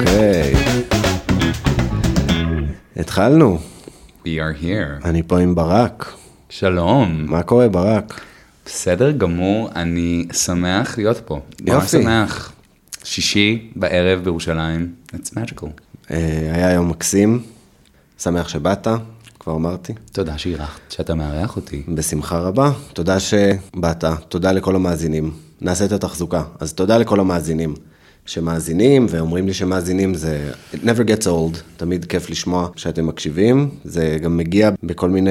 אוקיי. התחלנו, We are here. אני פה עם ברק. שלום. מה קורה ברק? בסדר גמור, אני שמח להיות פה. נורא יופי. שמח. שישי בערב בירושלים. It's magical. אה, היה יום מקסים, שמח שבאת, כבר אמרתי. תודה שאירחת, שאתה מארח אותי. בשמחה רבה, תודה שבאת, תודה לכל המאזינים. נעשה את התחזוקה, אז תודה לכל המאזינים. שמאזינים, ואומרים לי שמאזינים זה it never gets old, תמיד כיף לשמוע שאתם מקשיבים, זה גם מגיע בכל מיני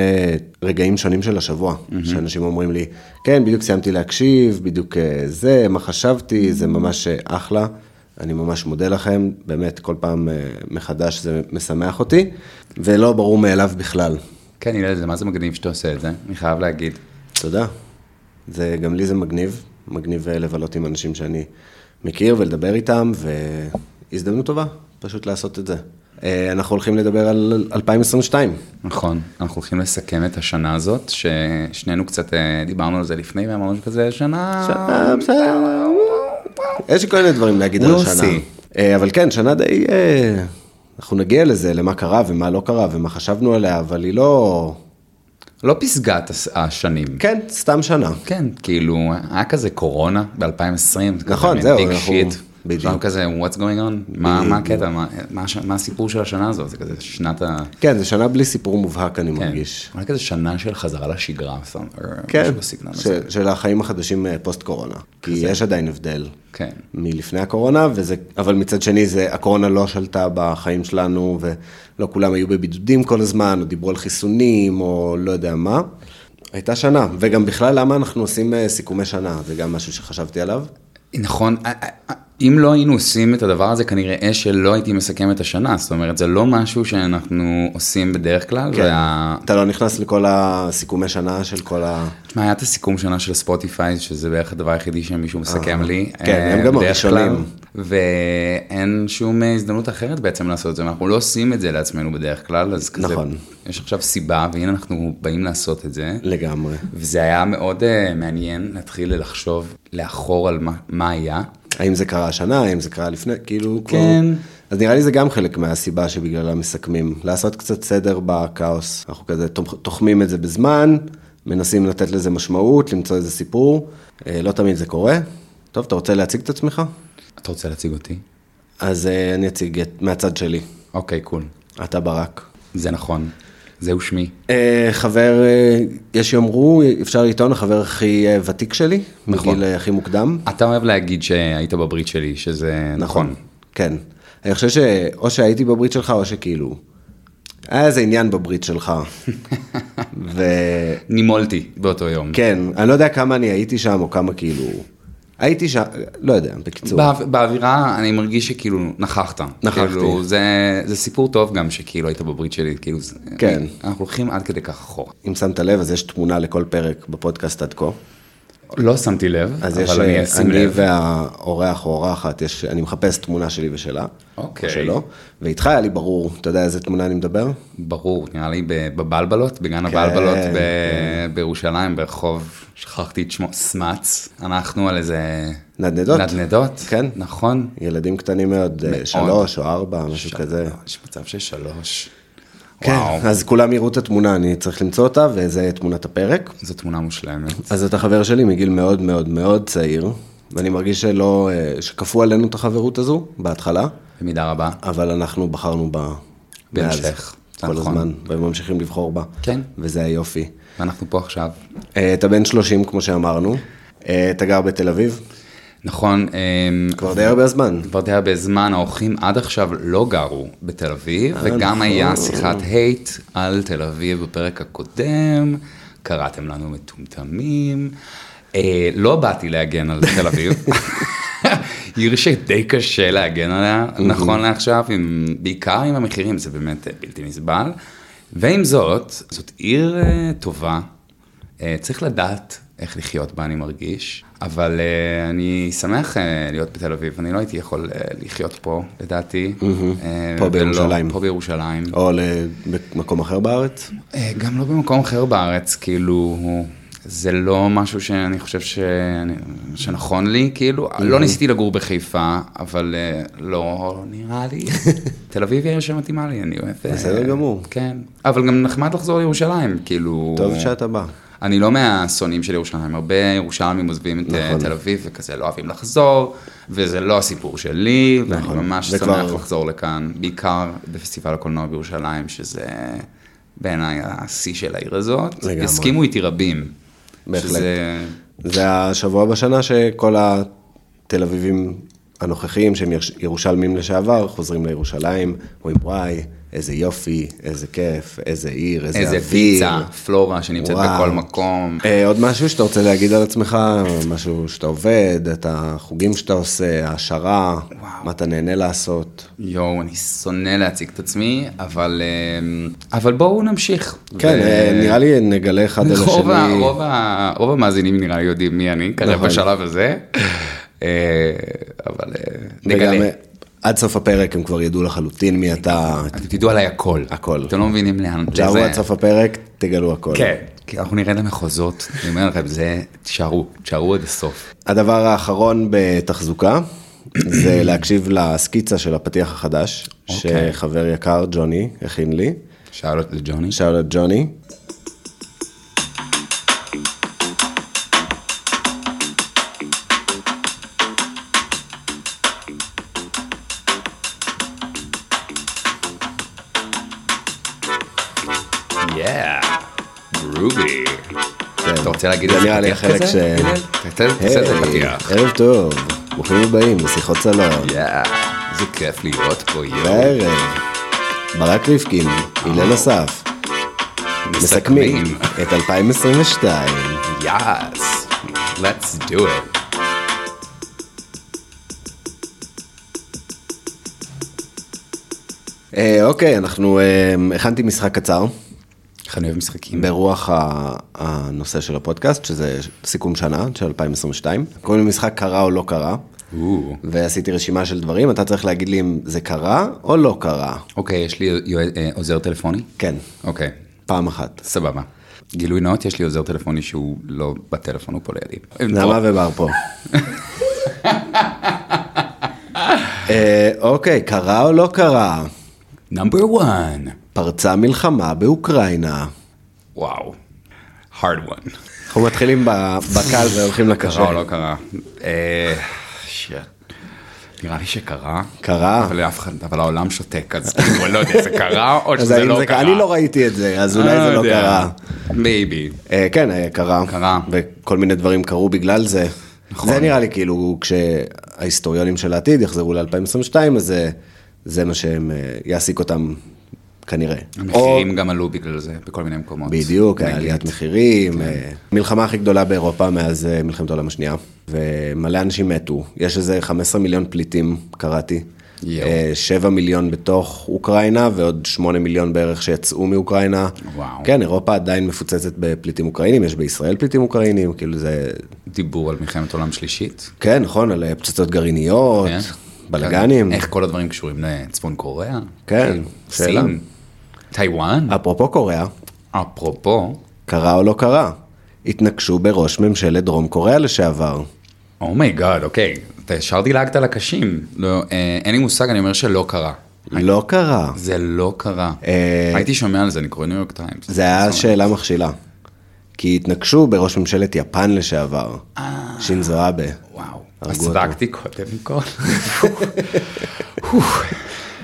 רגעים שונים של השבוע, mm-hmm. שאנשים אומרים לי, כן, בדיוק סיימתי להקשיב, בדיוק אה, זה, מה חשבתי, זה ממש אה, אחלה, אני ממש מודה לכם, באמת, כל פעם אה, מחדש זה משמח אותי, ולא ברור מאליו בכלל. כן, הלל, זה מה זה מגניב שאתה עושה את זה, אני חייב להגיד. תודה. זה, גם לי זה מגניב, מגניב אה, לבלות עם אנשים שאני מכיר ולדבר איתם, והזדמנות טובה פשוט לעשות את זה. אה, אנחנו הולכים לדבר על 2022. נכון, אנחנו הולכים לסכם את השנה הזאת, ששנינו קצת אה, דיברנו על זה לפני, ואמרנו שכזה שנה... אה, בסדר. יש לי כל מיני דברים להגיד על We'll השנה. see. אה, אבל כן, שנה די... אה, אנחנו נגיע לזה, למה קרה ומה לא קרה ומה חשבנו עליה, אבל היא לא... לא פסגת הס- השנים. כן, סתם שנה. כן, כאילו, היה כזה קורונה ב-2020. נכון, זהו, ביג אנחנו- שיט. בדיוק. עכשיו כזה, what's going on? מה מה הקטע? מה- מה הש- מה הסיפור של השנה הזאת? זה כזה שנת ה... כן, זו שנה בלי סיפור מובהק, אני כן. מרגיש. היה כזה שנה של חזרה לשגרה, some- or כן, משהו בסגנון ש- הזה. של החיים החדשים אה, פוסט-קורונה. כי יש עדיין הבדל כן. מלפני הקורונה, וזה, אבל מצד שני, זה, הקורונה לא שלטה בחיים שלנו, ולא כולם היו בבידודים כל הזמן, או דיברו על חיסונים, או לא יודע מה. הייתה שנה, וגם בכלל, למה אנחנו עושים אה, סיכומי שנה? זה גם משהו שחשבתי עליו. נכון, א- א- א- אם לא היינו עושים את הדבר הזה, כנראה שלא הייתי מסכם את השנה. זאת אומרת, זה לא משהו שאנחנו עושים בדרך כלל. כן. וה- אתה לא נכנס לכל הסיכומי שנה של כל ה... תשמע, היה את הסיכום שנה של ספוטיפיי, שזה בערך הדבר היחידי שמישהו מסכם לי. כן, אה, הם גם בדרך הראשונים. כלל. ואין שום אה, הזדמנות אחרת בעצם לעשות את זה, ואנחנו לא עושים את זה לעצמנו בדרך כלל, אז כזה... נכון. יש עכשיו סיבה, והנה אנחנו באים לעשות את זה. לגמרי. וזה היה מאוד אה, מעניין להתחיל לחשוב לאחור על מה, מה היה. האם זה קרה השנה, האם זה קרה לפני, כאילו כבר... כן. אז נראה לי זה גם חלק מהסיבה שבגללה מסכמים, לעשות קצת סדר בכאוס. אנחנו כזה תומכ- תוחמים את זה בזמן, מנסים לתת לזה משמעות, למצוא איזה סיפור, אה, לא תמיד זה קורה. טוב, אתה רוצה להציג את עצמך? אתה רוצה להציג אותי? אז אה, אני אציג את, מהצד שלי, אוקיי, קול. אתה ברק. זה נכון. זהו שמי. אה, חבר, אה, יש שיאמרו, אפשר לטעון, החבר הכי אה, ותיק שלי, נכון. מגיל אה, הכי מוקדם. אתה אוהב להגיד שהיית בברית שלי, שזה נכון. כן. אני חושב שאו שהייתי בברית שלך, או שכאילו, היה איזה עניין בברית שלך. וכן, נימולתי באותו יום. אני לא יודע כמה אני הייתי שם, או כמה כאילו... הייתי שם, לא יודע, בקיצור. באו- באווירה אני מרגיש שכאילו נכחת. נכחתי. כאילו, זה, זה סיפור טוב גם שכאילו היית בברית שלי, כאילו, זה- כן. אנחנו הולכים עד כדי כך אחורה. אם שמת לב, אז יש תמונה לכל פרק בפודקאסט עד כה. לא שמתי לב, אז אבל יש, אני אה, אשים אני לב. והאורח או אורחת, יש- אני מחפש תמונה שלי ושלה. אוקיי. או שלו. ואיתך היה לי ברור, אתה יודע איזה תמונה אני מדבר? ברור, נראה לי ב- בבלבלות, כן, בגן הבלבלות ב- בירושלים, ברחוב, שכחתי את שמו, סמץ. אנחנו על איזה... נדנדות. נדנדות. כן. נכון. ילדים קטנים מאוד, אה, שלוש או ארבע, משהו כזה. יש מצב של שלוש. כן, וואו, אז כולם יראו את התמונה, אני צריך למצוא אותה, וזה תמונת הפרק. זו תמונה מושלמת. אז אתה חבר שלי מגיל מאוד מאוד מאוד צעיר, ואני מרגיש שלא, אה, שכפו עלינו את החברות הזו בהתחלה, במידה רבה. אבל אנחנו בחרנו בה מאז, בהמשך, זה כל נכון. הזמן, וממשיכים לבחור בה. כן. וזה היופי. ואנחנו פה עכשיו. אה, אתה בן 30, כמו שאמרנו, אה, אתה גר בתל אביב, נכון, אמ, כבר די הרבה זמן. כבר די הרבה זמן, האורחים עד עכשיו לא גרו בתל אביב, וגם היה שיחת הייט על תל אביב בפרק הקודם, קראתם לנו מטומטמים. אה, לא באתי להגן על תל אביב, עיר שדי קשה להגן עליה, נכון לעכשיו, עם, בעיקר עם המחירים, זה באמת אה, בלתי נסבל. ועם זאת, זאת עיר אה, טובה, אה, צריך לדעת איך לחיות בה, אני מרגיש, אבל אה, אני שמח אה, להיות בתל אביב, אני לא הייתי יכול אה, לחיות פה, לדעתי. אה, פה ולא- בירושלים. פה בירושלים. לא. או למקום אחר בארץ? אה, גם לא במקום אחר בארץ, כאילו, זה לא משהו שאני חושב ש... שנכון לי, כאילו, לא ניסיתי לגור בחיפה, אבל אה, לא נראה לי. תל אביב היא עיר שמתאימה לי, אני אוהב... אה, בסדר גמור. כן, אבל גם נחמד לחזור לירושלים, כאילו... טוב שאתה בא. אני לא מהשונאים של ירושלים, הרבה ירושלמים עוזבים את אה, נכון. תל אביב וכזה לא אוהבים לחזור, וזה לא הסיפור שלי, נכון. ואני ממש זה שמח כבר- לחזור לכאן, בעיקר בפסטיבל הקולנוע בירושלים, שזה בעיניי השיא של העיר הזאת. לגמרי. הסכימו איתי רבים. בהחלט. שזה זה השבוע בשנה שכל התל אביבים הנוכחיים, שהם יש- ירושלמים לשעבר, חוזרים לירושלים, אומרים וואי, איזה יופי, איזה כיף, איזה עיר, איזה, איזה אוויר. פיצה, פלורה שנמצאת וואו. בכל מקום. אה, עוד משהו שאתה רוצה להגיד על עצמך, משהו שאתה עובד, את החוגים שאתה עושה, העשרה, וואו. מה אתה נהנה לעשות. יואו, אני שונא להציג את עצמי, אבל, אה, אבל בואו נמשיך. כן, ו- אה, נראה לי נגלה אחד על רוב, ה, השני. רוב, ה, רוב המאזינים נראה לי יודעים מי אני, כרגע נכון. בשלב הזה, אה, אבל אה, וגם, נגלה. אה, עד סוף הפרק הם כבר ידעו לחלוטין מי אתה. אתם תדעו עליי הכל. הכל. אתם לא מבינים לאן. תשארו לאיזה- עד סוף הפרק, תגלו הכל. כן, כי אנחנו נראה למחוזות, אני אומר לכם, זה, תישארו, תישארו עד הסוף. הדבר האחרון בתחזוקה, זה להקשיב לסקיצה של הפתיח החדש, אוקיי. שחבר יקר, ג'וני, הכין לי. שאלות לג'וני. שאלות ג'וני. יאה, גרובי. אתה רוצה להגיד כן. זה נראה איזה לי פתיח החלק כזה? ש- הלל? תעשה תעשה את זה פתיח. היי, ערב טוב, ברוכים הבאים לשיחות סלון. יאה, איזה כיף להיות פה, יואו. בערב, ברק ריפקין, הלל אסף, מסכמים את 2022. יאס, let's do it. אה, אוקיי, אנחנו, אה, הכנתי משחק קצר, איך אני אוהב משחקים. ברוח ה- הנושא של הפודקאסט, שזה סיכום שנה של 2022. קוראים למשחק קרה או לא קרה, או. ועשיתי רשימה של דברים, אתה צריך להגיד לי אם זה קרה או לא קרה. אוקיי, יש לי יועץ- אה, עוזר טלפוני? כן, אוקיי, פעם אחת. סבבה. גילוי נאות, יש לי עוזר טלפוני שהוא לא בטלפון, הוא פה לידי. נעמה ובר פה. אה, אוקיי, קרה או לא קרה? נאמבר 1. פרצה מלחמה באוקראינה. וואו. hard one. אנחנו מתחילים ב- בקל והולכים קרה לקשה. או לא קרה? אה, שיט. נראה לי שקרה. קרה? אבל אף אחד, אבל העולם שותק, אז כאילו, אני לא יודע, זה קרה או אז שזה האם לא זה- קרה? אה, אני לא ראיתי את זה, אז אולי זה לא יודע. קרה. Maybe. אה, כן, אה, קרה. קרה. וכל מיני דברים קרו בגלל זה. נכון. זה נראה לי כאילו כשההיסטוריונים של העתיד יחזרו ל-2022, אז זה- זה מה שהם אה, יעסיק אותם כנראה. או- המחירים גם עלו בגלל זה, בכל מיני מקומות. בדיוק, היה נגיד. כן. עליית מחירים, אה, מלחמה הכי גדולה באירופה מאז אה, מלחמת העולם השנייה, ומלא אנשים מתו, יש איזה 15 מיליון פליטים, קראתי. יואו. אה, 7 מיליון בתוך אוקראינה, ועוד 8 מיליון בערך שיצאו מאוקראינה. וואו. כן, אירופה עדיין מפוצצת בפליטים אוקראינים, יש בישראל פליטים אוקראינים, כאילו זה... דיבור על מלחמת עולם שלישית. כן, נכון, על אה, פצצות גרעיניות, כן. בלאגנים. איך כל הדברים קשורים לצפון קוריאה? כן, כאילו, שאלה. סין, טיוואן, אפרופו קוריאה, אפרופו, קרה או לא קרה? התנקשו בראש ממשלת דרום קוריאה לשעבר. אומייגאד, אוקיי, אתה ישר דילגת על הקשים. לא, אה, אין לי מושג, אני אומר שלא קרה. לא קרה. זה לא קרה. אה, הייתי שומע על זה, אני קורא ניו יורק טיימס. זה היה שאלה מכשילה. כי התנקשו בראש ממשלת יפן לשעבר, אה. שינזו אבה. וואו, הרגו אז אותו. צדקתי קודם כל. קודם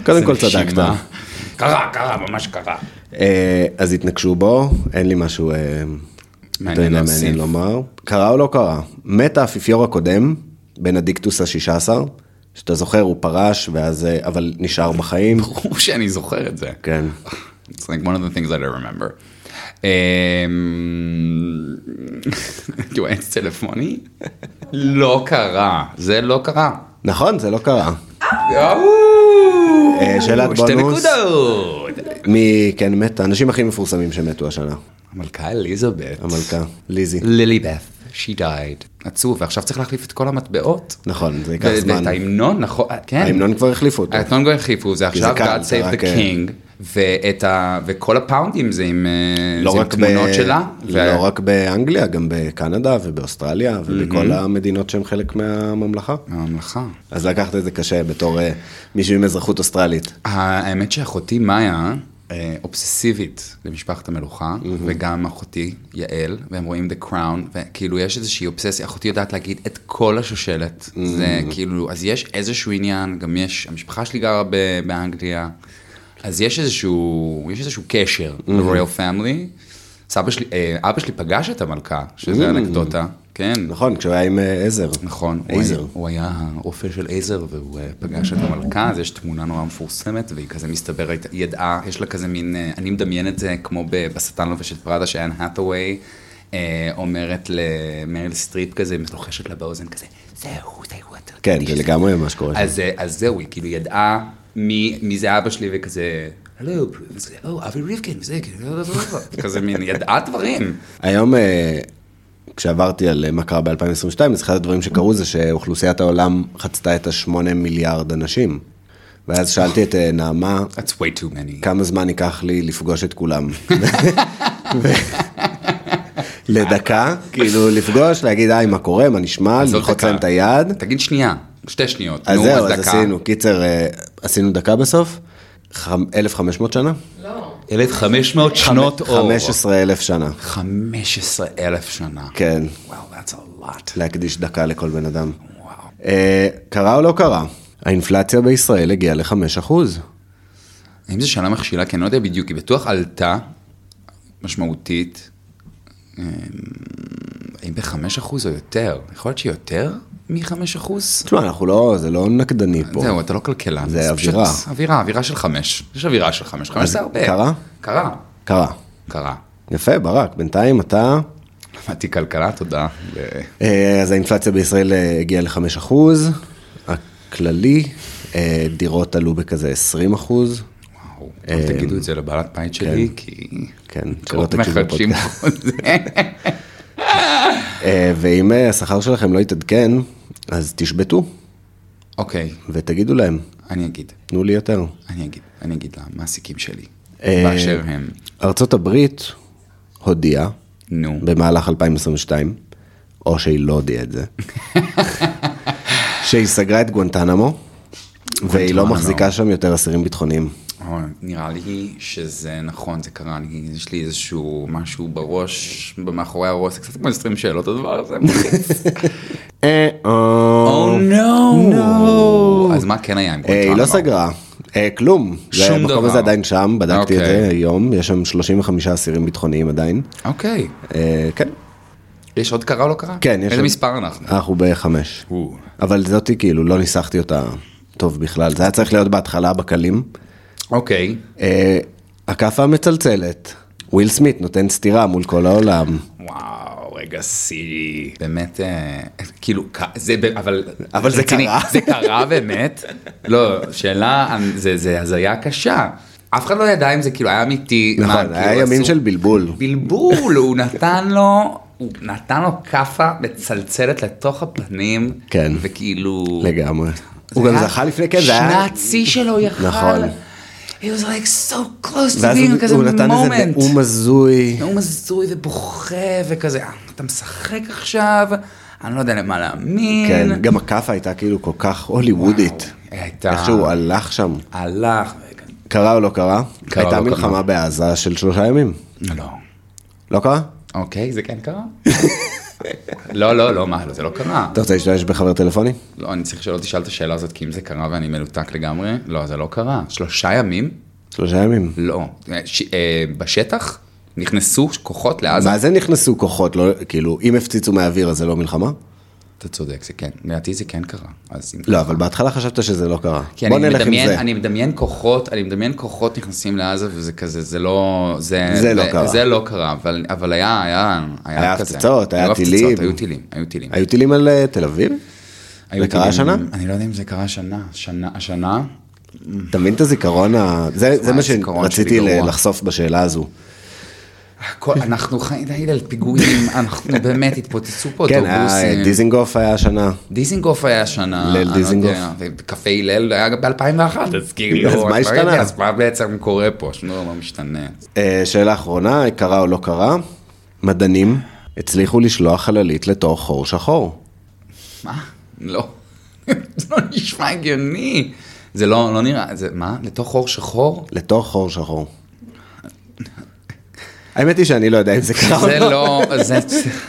כל איזה צדקת. נשימה. קרה, קרה, ממש קרה. אה, אז התנקשו בו, אין לי משהו אה, יותר מעניין מעניין להוסיף. לומר. קרה או לא קרה? מת האפיפיור הקודם, בנדיקטוס השישה עשר, שאתה זוכר, הוא פרש, ואז, אה, אבל נשאר בחיים. ברור שאני זוכר את זה. כן. It's like one of the things I don't remember. Um, אמ, יועץ טלפוני? לא קרה, זה לא קרה. נכון, זה לא קרה. יאו! אה, שאלת שתי בונוס. נקודות. מי כן מת? האנשים הכי מפורסמים שמתו השנה. המלכה אליזבת. המלכה, ליזי. לילי בת. She died. עצוב, ועכשיו צריך להחליף את כל המטבעות. נכון, זה ייקח ואת זמן. ההמנון, נכון? כן. ההמנון כבר החליפו אותו. אה, ההמנון כבר החליפו, זה עכשיו קל, God זה Save the רק, אה, King. ואת ה... וכל הפאונדים זה עם, אה, לא זה עם רק, תמונות ב... שלה. לא רק באנגליה, גם בקנדה ובאוסטרליה Mm-hmm. ובכל המדינות שהן חלק מהממלכה. הממלכה. אז לקחת את זה קשה בתור אה, מישהו עם אזרחות אוסטרלית. האמת שאחותי מאיה אה, אובססיבית למשפחת המלוכה, וגם אחותי יעל, והם רואים The Crown, וכאילו יש איזושהי אובססיה, אחותי יודעת להגיד את כל השושלת, זה כאילו, אז יש איזשהו עניין, גם יש, המשפחה שלי גרה ב- באנגליה, אז יש איזשהו, יש איזשהו קשר ל-Royal Family. סבא שלי, אה, אבא שלי פגש את המלכה, שזה אנקדוטה, כן. נכון, כשהוא היה עם אה, עזר. נכון, הוא עזר. היה- הוא היה הרופא של עזר והוא אה, פגש את המלכה, אז יש תמונה נורא מפורסמת והיא כזה מסתבר, הייתה- היא ידעה, יש לה כזה מין, אה, אני מדמיין את זה כמו ב- בשטן לובש את פראדה שאן האטאווי אה, אומרת למריל סטריפ כזה, לוחשת לה באוזן כזה, זהו, זהו, אתה כן, זה לגמרי מה שקורה שם. אז, אה, אז זהו, היא כאילו ידעה מי, מי זה אבא שלי וכזה, הלו, וזה, או, אבי ריבקין, וזה, כאילו, כזה מין, ידעה דברים. היום, אה, כשעברתי על אה, מה קרה ב-2022, אז אחד הדברים שקרו זה שאוכלוסיית העולם חצתה את השמונה מיליארד אנשים. ואז שאלתי את אה, נעמה, That's way too many. כמה זמן ייקח לי לפגוש את כולם. ו- לדקה, כאילו לפגוש, להגיד, היי, מה קורה, מה נשמע, אז עוד ללחוץ דקה. להם את היד. תגיד שנייה, שתי שניות. אז נו, זהו, אז דקה. עשינו, קיצר, אה, עשינו דקה בסוף, חמ- 1,500 שנה? 1,500 שנות אור. 15,000 שנה, 15,000 שנה. כן, וואו, that's a lot. להקדיש דקה לכל בן אדם. וואו. אה, קרה או לא קרה? האינפלציה בישראל הגיעה ל-5%. האם זו שנה מכשילה? כי אני לא יודע בדיוק, היא בטוח עלתה משמעותית. אמ, האם ב-5% או יותר? יכול להיות שיותר מ-5%? תשמע, אנחנו לא, זה לא נקדני פה. זהו, אתה לא כלכלן. זה פשוט אווירה. אווירה, אווירה של 5. יש אווירה של 5. 5 זה הרבה. קרה? קרה. קרה. קרה. יפה, ברק, בינתיים אתה... למדתי כלכלה, תודה. ו- אה, אז האינפלציה בישראל אה, הגיעה ל-5%, הכללי, אה, דירות עלו בכזה 20%. וואו, אל תגידו את זה לבעלת בית שלי, כי... אמ, כן, שלא עוד תקשיבו מחדשים לפודקאסט. חוזה. אה, ואם אה, השכר שלכם לא יתעדכן, אז תשבתו אוקיי, ותגידו להם, אני אגיד, תנו לי יותר. אני אגיד, אני אגיד למעסיקים שלי, אה, באשר הם. ארצות הברית הודיעה נו, במהלך 2022, או שהיא לא הודיעה את זה, שהיא סגרה את גואנטנמו, והיא לא גואנטנמו. מחזיקה שם יותר אסירים ביטחוניים. אוי, נראה לי שזה נכון, זה קרה, אני- יש לי איזשהו משהו בראש, מאחורי הראש, זה קצת כמו 20 שאלות הדבר הזה. אה, אה. Oh no! no! אז מה כן היה עם אה, היא לא גואנטנמו? סגרה, אה, כלום. שום המקום דבר. הזה עדיין שם, בדקתי את אוקיי. זה היום, יש שם 35 אסירים ביטחוניים עדיין. אוקיי, אה, כן, יש עוד קרה או לא קרה? כן, יש איזה עוד- מספר אנחנו? אנחנו בחמש. או. אבל זאתי כאילו, לא ניסחתי אותה טוב בכלל, זה היה צריך להיות בהתחלה בקלים. אוקיי, אה, הכאפה המצלצלת, וויל סמית נותן סטירה מול כל העולם. וואו, רגע שיא. באמת, אה, כאילו, ק- זה, ב- אבל... אבל זה רציני, קרה. זה קרה באמת? לא, שאלה, זה- זה הזיה קשה. אף אחד לא ידע אם זה כאילו היה אמיתי. מה, נכון, כאילו, היה ימים עשו- של בלבול. בלבול, הוא נתן לו, הוא נתן לו כאפה מצלצלת לתוך הפנים. כן. וכאילו... לגמרי. זה הוא גם היה- זכה לפני כן, זה היה... שנת שיא שלו יכל. נכון. He was like so close to ואז being הוא- כזה הוא נתן איזה moment. כן. נאום הזוי. נאום הזוי ובוכה וכזה, "אה, אתה משחק עכשיו, אני לא יודע למה להאמין. כן, גם הכאפה הייתה כאילו כל כך הוליוודית. הייתה, איך שהוא הלך שם. הלך, קרה או לא קרה? קרה הייתה או לא מלחמה קרה? בעזה של שלושה ימים. לא. לא קרה? אוקיי, זה כן קרה? לא, לא, לא, מה, לא, זה לא קרה. אתה רוצה להשתמש בחבר טלפוני? לא, אני צריך שלא תשאל את השאלה הזאת, כי אם זה קרה ואני מנותק לגמרי, לא, זה לא קרה. שלושה ימים? שלושה ימים. לא. ש- אה, בשטח נכנסו כוחות לעזה. מה זה נכנסו כוחות? לא, כאילו, אם הפציצו מהאוויר אז זה לא מלחמה? אתה צודק, זה כן, לדעתי זה כן קרה. אז אם לא, אבל בהתחלה חשבת שזה לא קרה. כי בוא אני נלך עם מדמיין, זה. אני מדמיין כוחות, אני מדמיין כוחות נכנסים לעזה וזה כזה, זה לא, זה, זה לא קרה. זה לא קרה, אבל, אבל היה, היה, היה, היה כזה. הפצצות, היה היו טילים. היו טילים, היו טילים. היו טילים על אה, תל אביב? Mm. היו זה קרה טילים, השנה? אני לא יודע אם זה קרה השנה, שנה, השנה, אתה מבין את הזיכרון ה... זה, זה מה אה, הזיכרון שלי שרציתי ל- גרוע. לחשוף בשאלה הזו. הכל, אנחנו חיים, די על פיגועים, אנחנו באמת התפוצצו פה כן, אוטובוסים. היה- דיזינגוף היה השנה. דיזינגוף היה השנה. ליל אני לא דיזינגוף. יודע, וקפה הלל היה ב-2001, אז כאילו, אז מה אני לא השתנה? יודע, אז מה בעצם קורה פה? שום דבר לא משתנה. אה, שאלה אחרונה, קרה או לא קרה, מדענים הצליחו לשלוח חללית לתוך חור שחור. מה? לא. זה לא נשמע הגיוני. זה לא, לא נראה, זה מה? לתוך חור שחור? לתוך חור שחור. האמת היא שאני לא יודע אם זה קרה. זה לא, זה,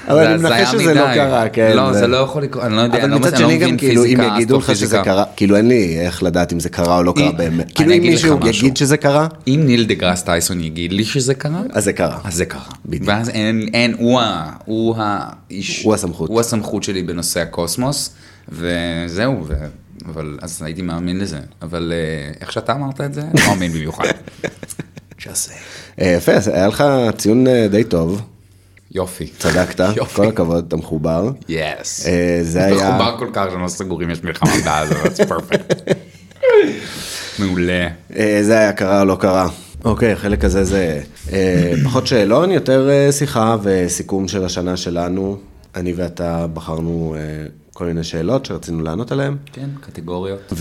אבל זה אני מנחש הזיה שזה לא מדי. קרה, כן, לא, זה- זה לא יכול לקרות, אני לא יודע, אבל אני לא מצד אני לא שני גם מבין כאילו אם פיזיקה, יגידו לך שזה אסטרופיזיקה. קרה, כאילו אין לי איך לדעת אם זה קרה או לא קרה באמת. אני כאילו אם אגיד לך מישהו משהו. יגיד שזה קרה, אם ניל דגרס טייסון יגיד לי שזה קרה, אז זה קרה. אז זה קרה. בדיוק. ואז אין, אין, הוא, ה- הוא האיש, הוא הסמכות. הוא הסמכות שלי בנושא הקוסמוס, וזהו, ו... אבל אז הייתי מאמין לזה, אבל אה, איך שאתה אמרת את זה, אני לא מאמין במיוחד. Just say. אה, יפה, אז היה לך ציון אה, די טוב, יופי. צדקת, יופי. כל הכבוד, אתה מחובר. יס. אה, זה היה- אתה מחובר כל כך שלא סגורים, יש מלחמה בעזה, that's perfect. מעולה. אה, זה היה קרה או לא קרה. אוקיי, החלק הזה זה אה, פחות שאלון, יותר אה, שיחה וסיכום של השנה שלנו. אני ואתה בחרנו אה, כל מיני שאלות שרצינו לענות עליהן, כן, קטגוריות.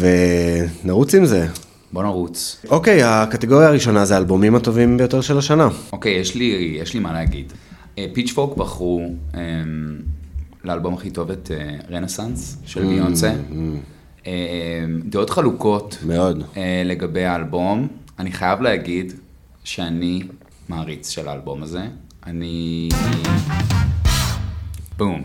ונרוץ עם זה. בוא נרוץ. אוקיי, הקטגוריה הראשונה זה האלבומים הטובים ביותר של השנה. אוקיי, יש לי, יש לי מה להגיד. פיצ'פורק בחרו אמ, לאלבום הכי טוב את אה, רנסאנס Mm, של ביונסה. אמ, דעות חלוקות מאוד. אה, לגבי האלבום. אני חייב להגיד שאני מעריץ של האלבום הזה. אני... בום.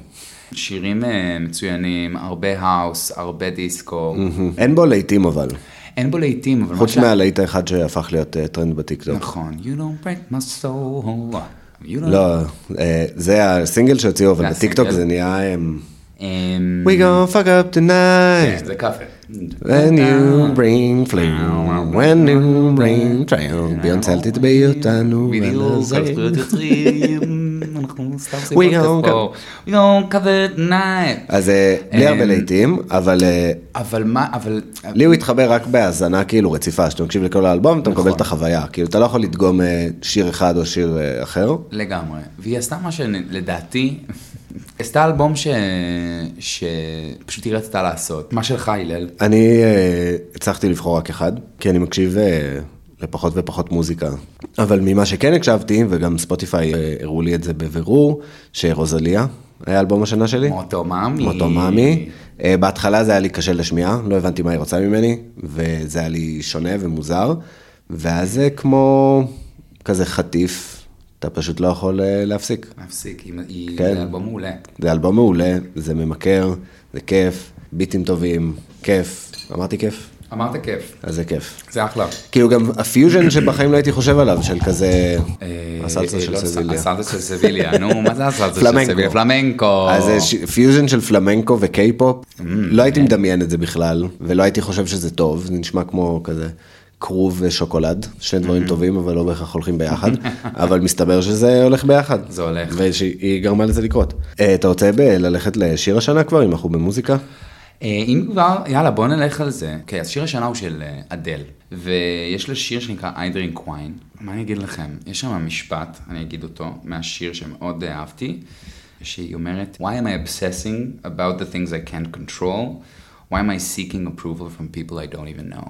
שירים אה, מצוינים, הרבה האוס, הרבה דיסקו. אין בו להיטים אבל, אין בו להיטים, אבל... מה חוץ שה- מהלהיט האחד שהפך להיות אה, טרנד בטיקטוק. נכון. You don't break my soul. You don't... לא, אה, זה הסינגל שהוציאו, אבל זה בטיקטוק הסינגל. זה נהיה... אמ, אמ, We gonna fuck up tonight. כן, זה כאפה. When you bring flu, when you bring trial, ביונסה אל תתבעי אותנו. בדיוק, ועל על זה. זכויות יוצרים, אנחנו סתם We עושים gonna פודקאסט פה. We don't cover it tonight. אז אה, בלי הרבה אמ, להיטים, אבל אה, אבל מה, אבל... לי הוא התחבר רק בהאזנה כאילו רציפה, שאתה מקשיב לכל האלבום, אתה מקבל את החוויה, כאילו אתה לא יכול לדגום אה, שיר אחד או שיר אה, אחר. לגמרי. והיא עשתה מה שלדעתי, עשתה אלבום ש... שפשוט היא לא רצתה לעשות. מה שלך, הלל? אני אה, הצלחתי לבחור רק אחד, כי אני מקשיב אה, לפחות ופחות מוזיקה. אבל ממה שכן הקשבתי, וגם ספוטיפיי אה, הראו לי את זה בבירור, שרוזליה היה אלבום השנה שלי. מוטו מאמי. מוטו מאמי. אה, בהתחלה זה היה לי קשה לשמיעה, לא הבנתי מה היא רוצה ממני, וזה היה לי שונה ומוזר. ואז זה כמו כזה חטיף, אתה פשוט לא יכול אה, להפסיק. להפסיק, היא- היא... כן. זה אלבום מעולה. זה אלבום מעולה, זה ממכר, זה כיף, ביטים טובים, כיף. אמרתי כיף? אמרת כיף, אז זה כיף. זה אחלה. כאילו גם הפיוז'ן שבחיים לא הייתי חושב עליו, של כזה... הסלסה של לא, סביליה. הסלסה של סביליה, נו, מה זה הסלסה של פלמנקו. סביליה? פלמנקו. אז זה ש- פיוז'ן של פלמנקו וקיי-פופ, Mm, לא כן. הייתי מדמיין את זה בכלל, ולא הייתי חושב שזה טוב, זה נשמע כמו כזה כרוב ושוקולד, שני Mm-hmm. דברים טובים, אבל לא בהכרח הולכים ביחד, אבל מסתבר שזה הולך ביחד. זה הולך. והיא גרמה לזה לקרות. אה, אתה רוצה ב- ללכת לשיר השנה כבר, אם אנחנו במוזיקה? אה, אם כבר, יאללה, בוא נלך על זה. אוקיי, אז שיר השנה הוא של אה, אדל, ויש לה שיר שנקרא I Drink Wine. מה אני אגיד לכם? יש שם משפט, אני אגיד אותו, מהשיר שמאוד אה, אהבתי, שהיא אומרת, Why am I obsessing about the things I can't control? Why am I seeking approval from people I don't even know?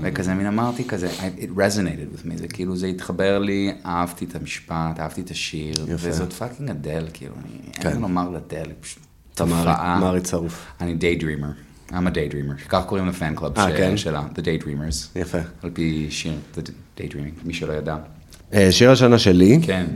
וכזה מין אמרתי כזה, I- it resonated with me, זה כאילו זה התחבר לי, אהבתי את המשפט, אהבתי את השיר, וזאת פאקינג אדל, כאילו, אני, אין לי מה לומר לאדל, היא פשוט אתה מעריץ- תופעה. מעריץ שרוף. אני daydreamer. I'm a daydreamer. כך קוראים לפן קלאב אה, כן? שלה, The Daydreamers. יפה. על פי שיר, The Daydreaming, מי שלא ידע. אה, שיר השנה שלי, כן,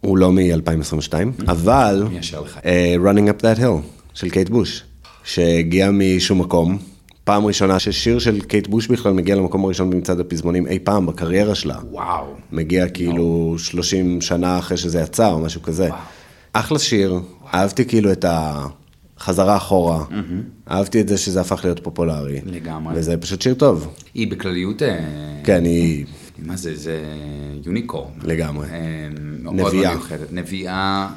הוא לא מ-2022, Mm-hmm. אבל מי ישר לך. אה, Running Up That Hill של קייט בוש, שהגיע משום מקום. פעם ראשונה ששיר של קייט בוש בכלל מגיע למקום הראשון במצעד הפזמונים אי פעם בקריירה שלה. וואו. מגיע כאילו 30 שנה אחרי שזה יצא או משהו כזה. וואו. אחלה שיר, אהבתי כאילו את החזרה אחורה, אהבתי את זה שזה הפך להיות פופולרי. לגמרי. וזה פשוט שיר טוב. היא בכלליות, אה, כן, היא מה זה, זה יוניקורן. לגמרי. אה, מאוד נביאה. מאוד מיוחדת. נביאה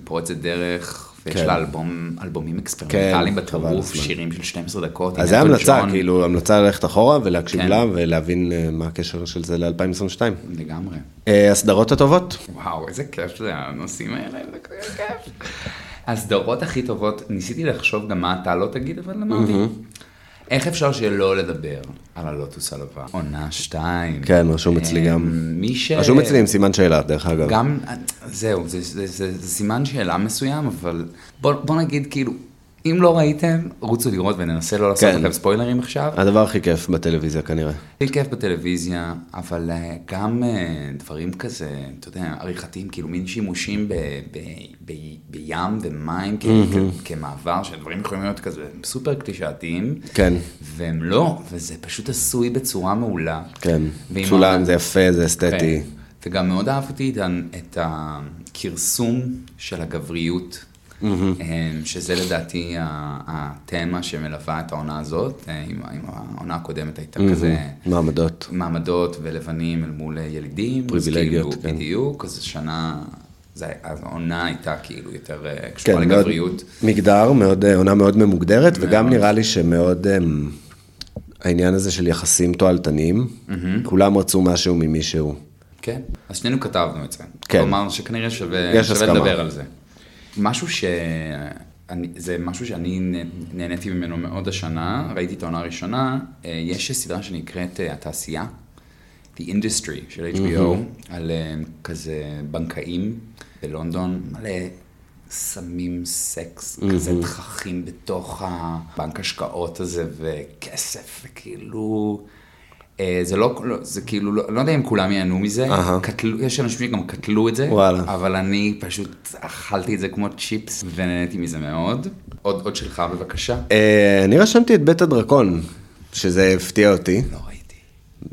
ופורצת דרך ויש כן. לה אלבום, אלבומים אקספרימנטליים כן, חבל בטירוף, הזמן. שירים של 12 דקות. עם אז זה אלטון המלצה, ג'ון. כאילו, המלצה ללכת אחורה ולהקשיב כן. לה ולהבין אה, מה הקשר של זה ל-2022. לגמרי. אה, הסדרות הטובות? וואו, איזה כיף זה, הנושאים האלה, זה כזה כיף. הסדרות הכי טובות, ניסיתי לחשוב גם מה אתה לא תגיד, אבל אמרתי, איך אפשר שלא לדבר על הלוטוס הלבן? עונה שתיים. כן, רשום אצלי גם. אמ, מי ש... רשום אצלי עם סימן שאלה, דרך אגב. גם, זהו, זה, זה, זה, זה סימן שאלה מסוים, אבל בוא, בוא נגיד כאילו, אם לא ראיתם, רוצו לראות וננסה לא לעשות כן. לכם ספוילרים עכשיו. הדבר הכי כיף בטלוויזיה כנראה. הכי כיף בטלוויזיה, אבל אה, גם אה, דברים כזה, אתה יודע, עריכתיים, כאילו מין שימושים ב, ב, ב, בים ומים כ, כ, כמעבר, שדברים יכולים להיות כזה סופר קלישאתיים. כן. והם לא, וזה פשוט עשוי בצורה מעולה. כן. ועם צולם, זה יפה, זה אסתטי. כן. וגם מאוד אהבתי את ה- את הכרסום של הגבריות, אה, שזה לדעתי ה- התמה שמלווה את העונה הזאת, אה, אם אם העונה הקודמת הייתה כזה מעמדות. מעמדות ולבנים אל מול ילידים. אז פריבילגיות, כאילו, כן. בדיוק, אז שנה, זה- אז העונה הייתה כאילו יותר אה, כן, קשורה מאוד לגבריות. מגדר, מאוד, אה, עונה מאוד ממוגדרת, וגם נראה לי שמאוד אמ, העניין הזה של יחסים תועלתניים, כולם רצו משהו ממישהו. כן, אז שנינו כתבנו את זה. כן. כלומר, שכנראה שווה, יש שווה הסכמה. לדבר על זה. משהו ש... אני, זה משהו שאני נ- נהניתי ממנו מאוד השנה, ראיתי את העונה הראשונה, אה, יש סדרה שנקראת אה, התעשייה, The Industry של HBO, על אה, כזה בנקאים בלונדון, מלא סמים, סקס, כזה תככים בתוך הבנק השקעות הזה, וכסף, וכאילו... אה, זה לא, לא- זה כאילו, לא לא יודע אם כולם ייהנו מזה, אהה. קטלו, יש אנשים שגם קטלו את זה, וואלה. אבל אני פשוט אכלתי את זה כמו צ'יפס, ונהניתי מזה מאוד. עוד, עוד שלך בבקשה. אה, אני רשמתי את בית הדרקון, שזה הפתיע אותי. לא ראיתי.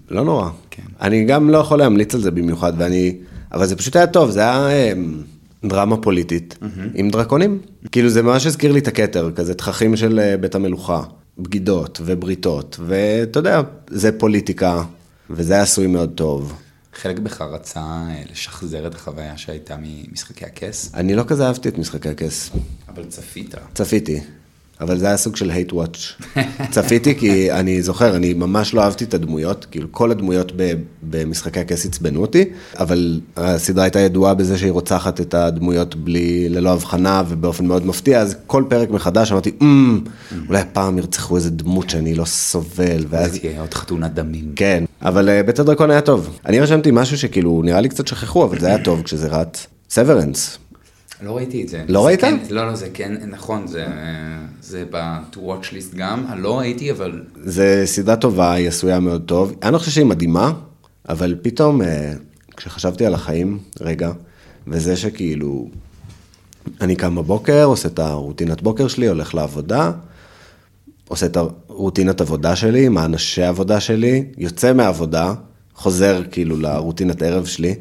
לא נורא. כן. אני גם לא יכול להמליץ על זה במיוחד, ואני... אבל זה פשוט היה טוב, זה היה אמ, דרמה פוליטית עם דרקונים. כאילו זה ממש הזכיר לי את הכתר, כזה תככים של אה, בית המלוכה, בגידות ובריתות, ואתה יודע, זה פוליטיקה, וזה היה עשוי מאוד טוב. חלק בך רצה אה, לשחזר את החוויה שהייתה ממשחקי הכס, אני לא כזה אהבתי את משחקי הכס, אבל צפית. צפיתי. אבל זה היה סוג של hate watch. צפיתי כי אני זוכר, אני ממש לא אהבתי את הדמויות, כאילו כל הדמויות ב- במשחקי הכס עצבנו אותי, אבל הסדרה הייתה ידועה בזה שהיא רוצחת את הדמויות בלי, ללא הבחנה ובאופן מאוד מפתיע, אז כל פרק מחדש אמרתי, "אמ, אולי הפעם ירצחו איזה דמות שאני לא סובל, ואז אז תהיה עוד חתונת דמים. כן, אבל אה, בית הדרקון היה טוב. אני רשמתי משהו שכאילו נראה לי קצת שכחו, אבל זה היה טוב כשזה רץ. סוורנס. לא ראיתי את זה. לא זה ראית? כן- לא, לא, זה כן, נכון, זה, אה, זה ב-to watch list גם. אה, לא ראיתי, אבל זה סדרה טובה, היא עשויה מאוד טוב. אני לא חושב שהיא מדהימה, אבל פתאום, אה, כשחשבתי על החיים, רגע, וזה שכאילו, אני קם בבוקר, עושה את הרוטינת בוקר שלי, הולך לעבודה, עושה את הרוטינת עבודה שלי, עם האנשי העבודה שלי, יוצא מהעבודה, חוזר כאילו לרוטינת ערב שלי,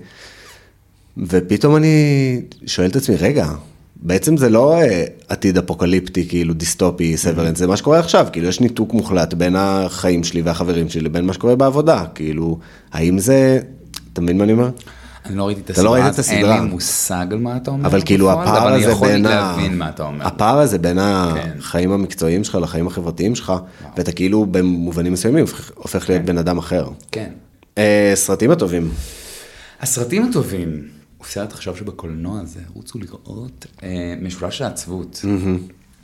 ופתאום אני שואל את עצמי, רגע, בעצם זה לא אה, עתיד אפוקליפטי, כאילו דיסטופי, סוורנס, זה מה שקורה עכשיו, כאילו יש ניתוק מוחלט בין החיים שלי והחברים שלי לבין מה שקורה בעבודה, כאילו, האם זה, אתה מבין מה אני אומר? אני לא ראיתי את אתה הסדרה, לא ראית אז את הסדרה. אין לי מושג על מה אתה אומר. אבל כאילו בפועל, הפער הזה אבל אני בין יכול ה... להבין מה אתה אומר. הפער הזה בין כן. החיים המקצועיים שלך לחיים החברתיים שלך, ואתה כאילו במובנים מסוימים הופך- הופך להיות בן אדם אחר. כן. אה, סרטים הטובים. הסרטים הטובים. סרט עכשיו שבקולנוע זה, רוצו לראות אה, משולש של העצבות.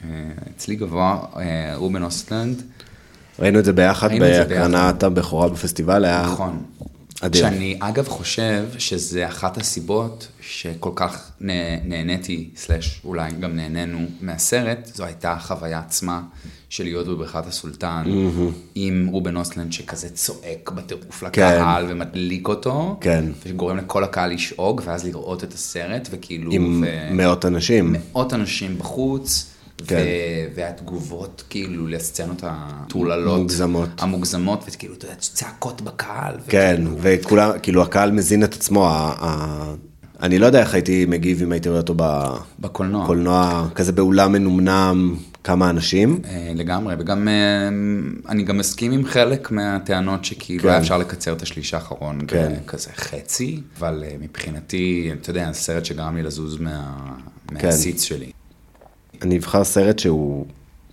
אה, אצלי גבוה אה, רובן אוסטלנד. ראינו את זה ביחד ראינו את זה ביחד. בהקרנת הבכורה בפסטיבל, היה... נכון. אדיר. שאני אגב חושב שזה אחת הסיבות שכל כך נה- נהניתי, סלאש אולי גם נהנינו מהסרט, זו הייתה החוויה עצמה של להיות בבריכת הסולטן, עם רובן אוסלנד שכזה צועק בטירוף לקהל ומדליק אותו, כן. וגורם לכל הקהל לשאוג, ואז לראות את הסרט, וכאילו... עם ו- מאות אנשים. מאות אנשים בחוץ, כן. כן. ו- והתגובות כאילו לסצנות המטוללות. מוגזמות. המוגזמות, וכאילו, אתה יודע, צעקות בקהל. כן, וכאילו, וכולם, כאילו הקהל מזין את עצמו, ה- ה- אני לא יודע איך הייתי מגיב אם הייתי רואה אותו בקולנוע. בקולנוע, כזה באולם מנומנם, כמה אנשים. אה, לגמרי, וגם אה, אני גם מסכים עם חלק מהטענות שכאילו כן. היה אפשר לקצר את השליש האחרון כן. ב- כזה חצי, אבל אה, מבחינתי, אתה יודע, זה סרט שגרם לי לזוז מה... כן. מהסיץ שלי. אני אבחר סרט שהוא...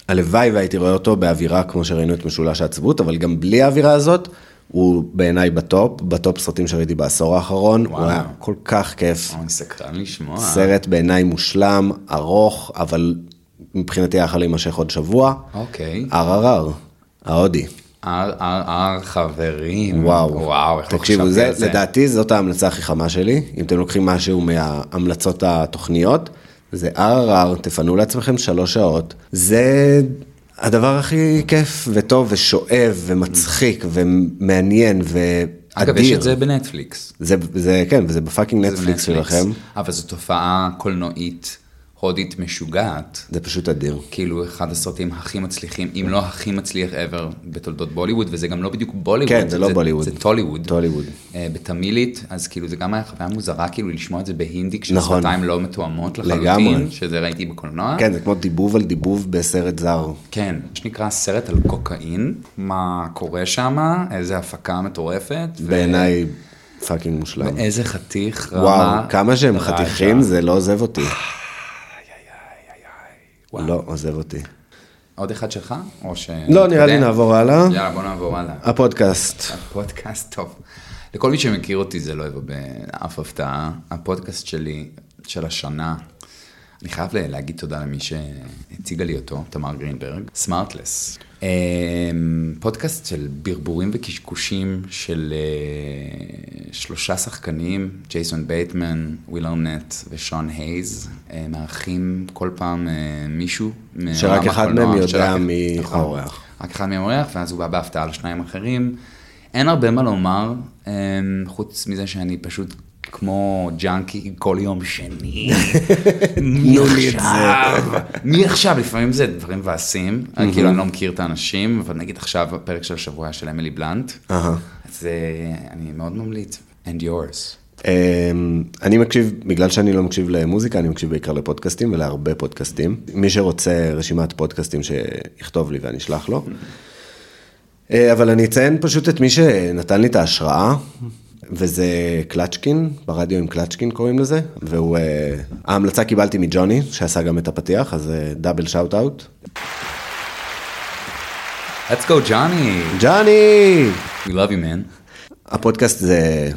הלוואי והייתי רואה אותו באווירה כמו שראינו את משולש העצבות, אבל גם בלי האווירה הזאת, הוא בעיניי בטופ, בטופ סרטים שראיתי בעשור האחרון, וואו. הוא היה כל כך כיף. אה, אני סקרן לשמוע. סרט בעיניי מושלם, ארוך, אבל מבחינתי היה יכול להימשך עוד שבוע. אוקיי. ערערר, ההודי. אר, אר, אר, חברים. וואו. וואו, איך לא תקשיבו, חשבתי זה, על זה. לדעתי זאת ההמלצה הכי חמה שלי. אם אתם לוקחים משהו מההמלצות התוכניות, זה ערערר, תפנו לעצמכם שלוש שעות. זה הדבר הכי כיף וטוב ושואב Mm. ומצחיק ומעניין ואדיר. אגב, יש את זה בנטפליקס. זה, זה כן, וזה בפאקינג זה נטפליקס שלכם. אבל זו תופעה קולנועית הודית משוגעת. זה פשוט אדיר. כאילו אחד הסרטים הכי מצליחים, אם לא הכי מצליח ever בתולדות בוליווד, וזה גם לא בדיוק בוליווד. כן, זה לא בוליווד. זה טוליווד. טוליווד. אה, בתמילית, אז כאילו זה גם היה חוויה מוזרה כאילו לשמוע את זה בהינדי, נכון. כשהשפתיים לא מתואמות לחלוטין, לגמרי. שזה ראיתי בקולנוע. כן, זה כמו דיבוב על דיבוב בסרט זר. כן, מה שנקרא סרט על קוקאין, מה קורה שם, איזה הפקה מטורפת. ו- בעיניי פאקינג מושלם. איזה חתיך רמה. וואו, כמה שהם רעשה. חתיכים, זה לא עוזב אותי. וואו. לא עוזב אותי. עוד אחד שלך? או ש... לא, נראה לי נתקדם? נעבור הלאה. אה, יאללה, בוא נעבור הלאה. הפודקאסט. הפודקאסט טוב. לכל מי שמכיר אותי זה לא יבוא באף הפתעה. הפודקאסט שלי, של השנה, אני חייב ל- להגיד תודה למי שהציגה לי אותו, תמר גרינברג, סמארטלס. אמ, פודקאסט של ברבורים וקשקושים של אה, שלושה שחקנים, ג'ייסון בייטמן, וויל ארנט ושון הייז, אה, מארחים כל פעם אה, מישהו. שרק מעולם אחד הקולנוע, מהם יודע שרק- מי נכון. האורח. רק אחד מהם אורח, ואז הוא בא בהפתעה לשניים אחרים. אין הרבה מה לומר, אמ, חוץ מזה שאני פשוט כמו ג'אנקי כל יום שני. מי תנו לי את עכשיו? מי עכשיו? לפעמים זה דברים מבאסים. כאילו, אני לא מכיר את האנשים, אבל נגיד עכשיו, הפרק של השבוע היה של אמילי בלנט. אהה. אז אה, אני מאוד ממליץ. And yours. אמ, אני מקשיב, בגלל שאני לא מקשיב למוזיקה, אני מקשיב בעיקר לפודקאסטים ולהרבה פודקאסטים. מי שרוצה רשימת פודקאסטים שיכתוב לי ואני אשלח לו. אה, אבל אני אציין פשוט את מי שנתן לי את ההשראה, וזה קלצ'קין, ברדיו עם קלצ'קין קוראים לזה, והוא... אה, ההמלצה קיבלתי מג'וני, שעשה גם את הפתיח, אז אה, דאבל שאוט אאוט. Let's go, Johnny. ג'וני! We love you, man. הפודקאסט זה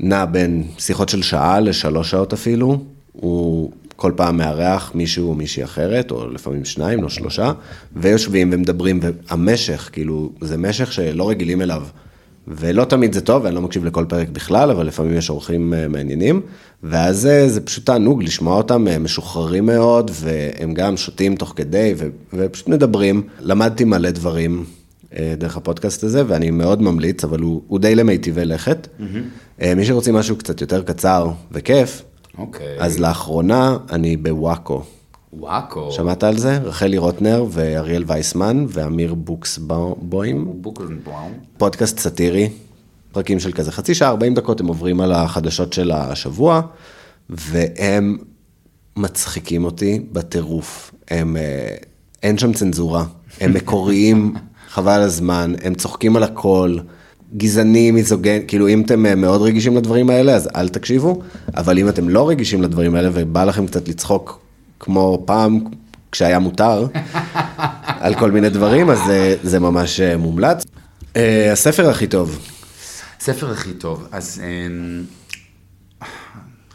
נע בין שיחות של שעה לשלוש שעות אפילו. הוא כל פעם מארח מישהו או מישהי אחרת, או לפעמים שניים או שלושה, ויושבים ומדברים, והמשך, כאילו, זה משך שלא רגילים אליו. ולא תמיד זה טוב, ואני לא מקשיב לכל פרק בכלל, אבל לפעמים יש אורחים אה, מעניינים, ואז אה, זה פשוט תענוג לשמוע אותם, הם משוחררים מאוד, והם גם שותים תוך כדי, ו- ופשוט מדברים. למדתי מלא דברים אה, דרך הפודקאסט הזה, ואני מאוד ממליץ, אבל הוא, הוא די למיטיבי לכת. אה, מי שרוצים משהו קצת יותר קצר וכיף, אוקיי. אז לאחרונה אני בוואקו. וואקו. שמעת על זה? רחלי רוטנר ואריאל וייסמן ואמיר בוקסבוים. בוקלנבאום. פודקאסט סאטירי, פרקים של כזה חצי שעה, 40 דקות, הם עוברים על החדשות של השבוע, והם מצחיקים אותי בטירוף. הם, אה, אין שם צנזורה, הם מקוריים, חבל על הזמן, הם צוחקים על הכל. גזעני, מיזוגן, כאילו אם אתם אה, מאוד רגישים לדברים האלה, אז אל תקשיבו, אבל אם אתם לא רגישים לדברים האלה ובא לכם קצת לצחוק כמו פעם, כשהיה מותר, על כל מיני דברים, אז זה, זה ממש אה, מומלץ. אה, הספר הכי טוב, ספר הכי טוב, אז אמ,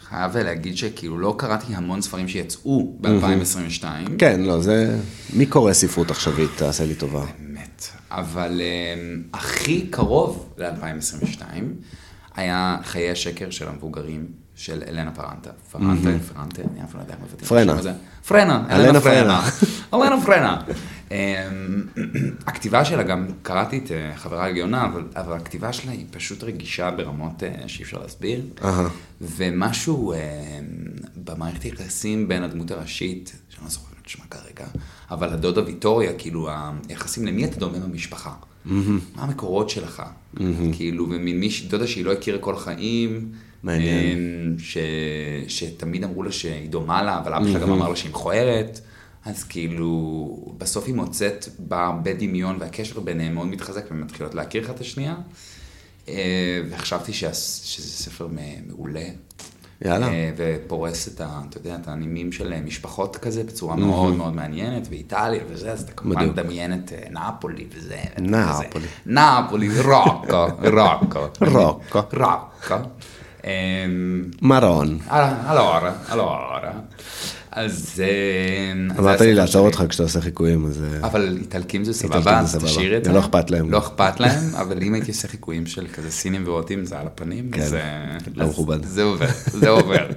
חייב להגיד שכאילו לא קראתי המון ספרים שיצאו ב-2022. כן, לא, זה... מי קורא ספרות עכשווית, תעשה לי טובה. באמת, אבל אמ, הכי קרוב ל-2022 היה חיי השקר של המבוגרים של אלנה פרנטה. פרנטה, פרנטה, אני אף פעם לא יודע איך מבטאים את פרנה. השם הזה. פרנה, אלנה אלנה פרנה. אלנה פרנה. אמ, הכתיבה שלה, גם קראתי את אה, חברה עליונה, אבל- אבל הכתיבה שלה היא פשוט רגישה ברמות אה, שאי אפשר להסביר. ומשהו אה, במערכת היחסים בין הדמות הראשית, שאני לא זוכר את שמה כרגע, אבל הדודה ויטוריה, כאילו, היחסים למי אתה דומה במשפחה? מה המקורות שלך? כאילו, ומין מישהי, דודה שהיא לא הכירה כל החיים. מעניין. אמ, ש... שתמיד אמרו לה שהיא דומה לה, אבל אבא שלה גם אמר לה שהיא מכוערת. אז כאילו, בסוף היא מוצאת בה הרבה דמיון, והקשר ביניהם מאוד מתחזק, והן מתחילות להכיר אמ, אחת את השנייה. אה, וחשבתי שה... שזה ספר מ- מעולה. יאללה. אה, ופורס את ה... אתה יודע, את הנימים של אה, משפחות כזה בצורה מאוד מאוד מעניינת, ואיטליה וזה, אז אתה כמובן נכון. בדיוק. מדמיין את אה, נאפולי וזה. וזה. נאפולי. נאפולי, רוקו, רוקו. רוקו. רוקו. אמ, מרון. אה, allora, allora. אז... אה, אז זה אמרת לי הספר לעצור שלי. אותך כשאתה עושה חיקויים, אז... אה, אבל איטלקים זה סבבה, איטלקים זה אז סבבה. תשאיר את זה זה. לא אכפת להם. לא אכפת להם, אבל אם הייתי עושה חיקויים של כזה סינים והודים, זה על הפנים, כן, זה... לא אז מכובד. זה עובר, זה עובר.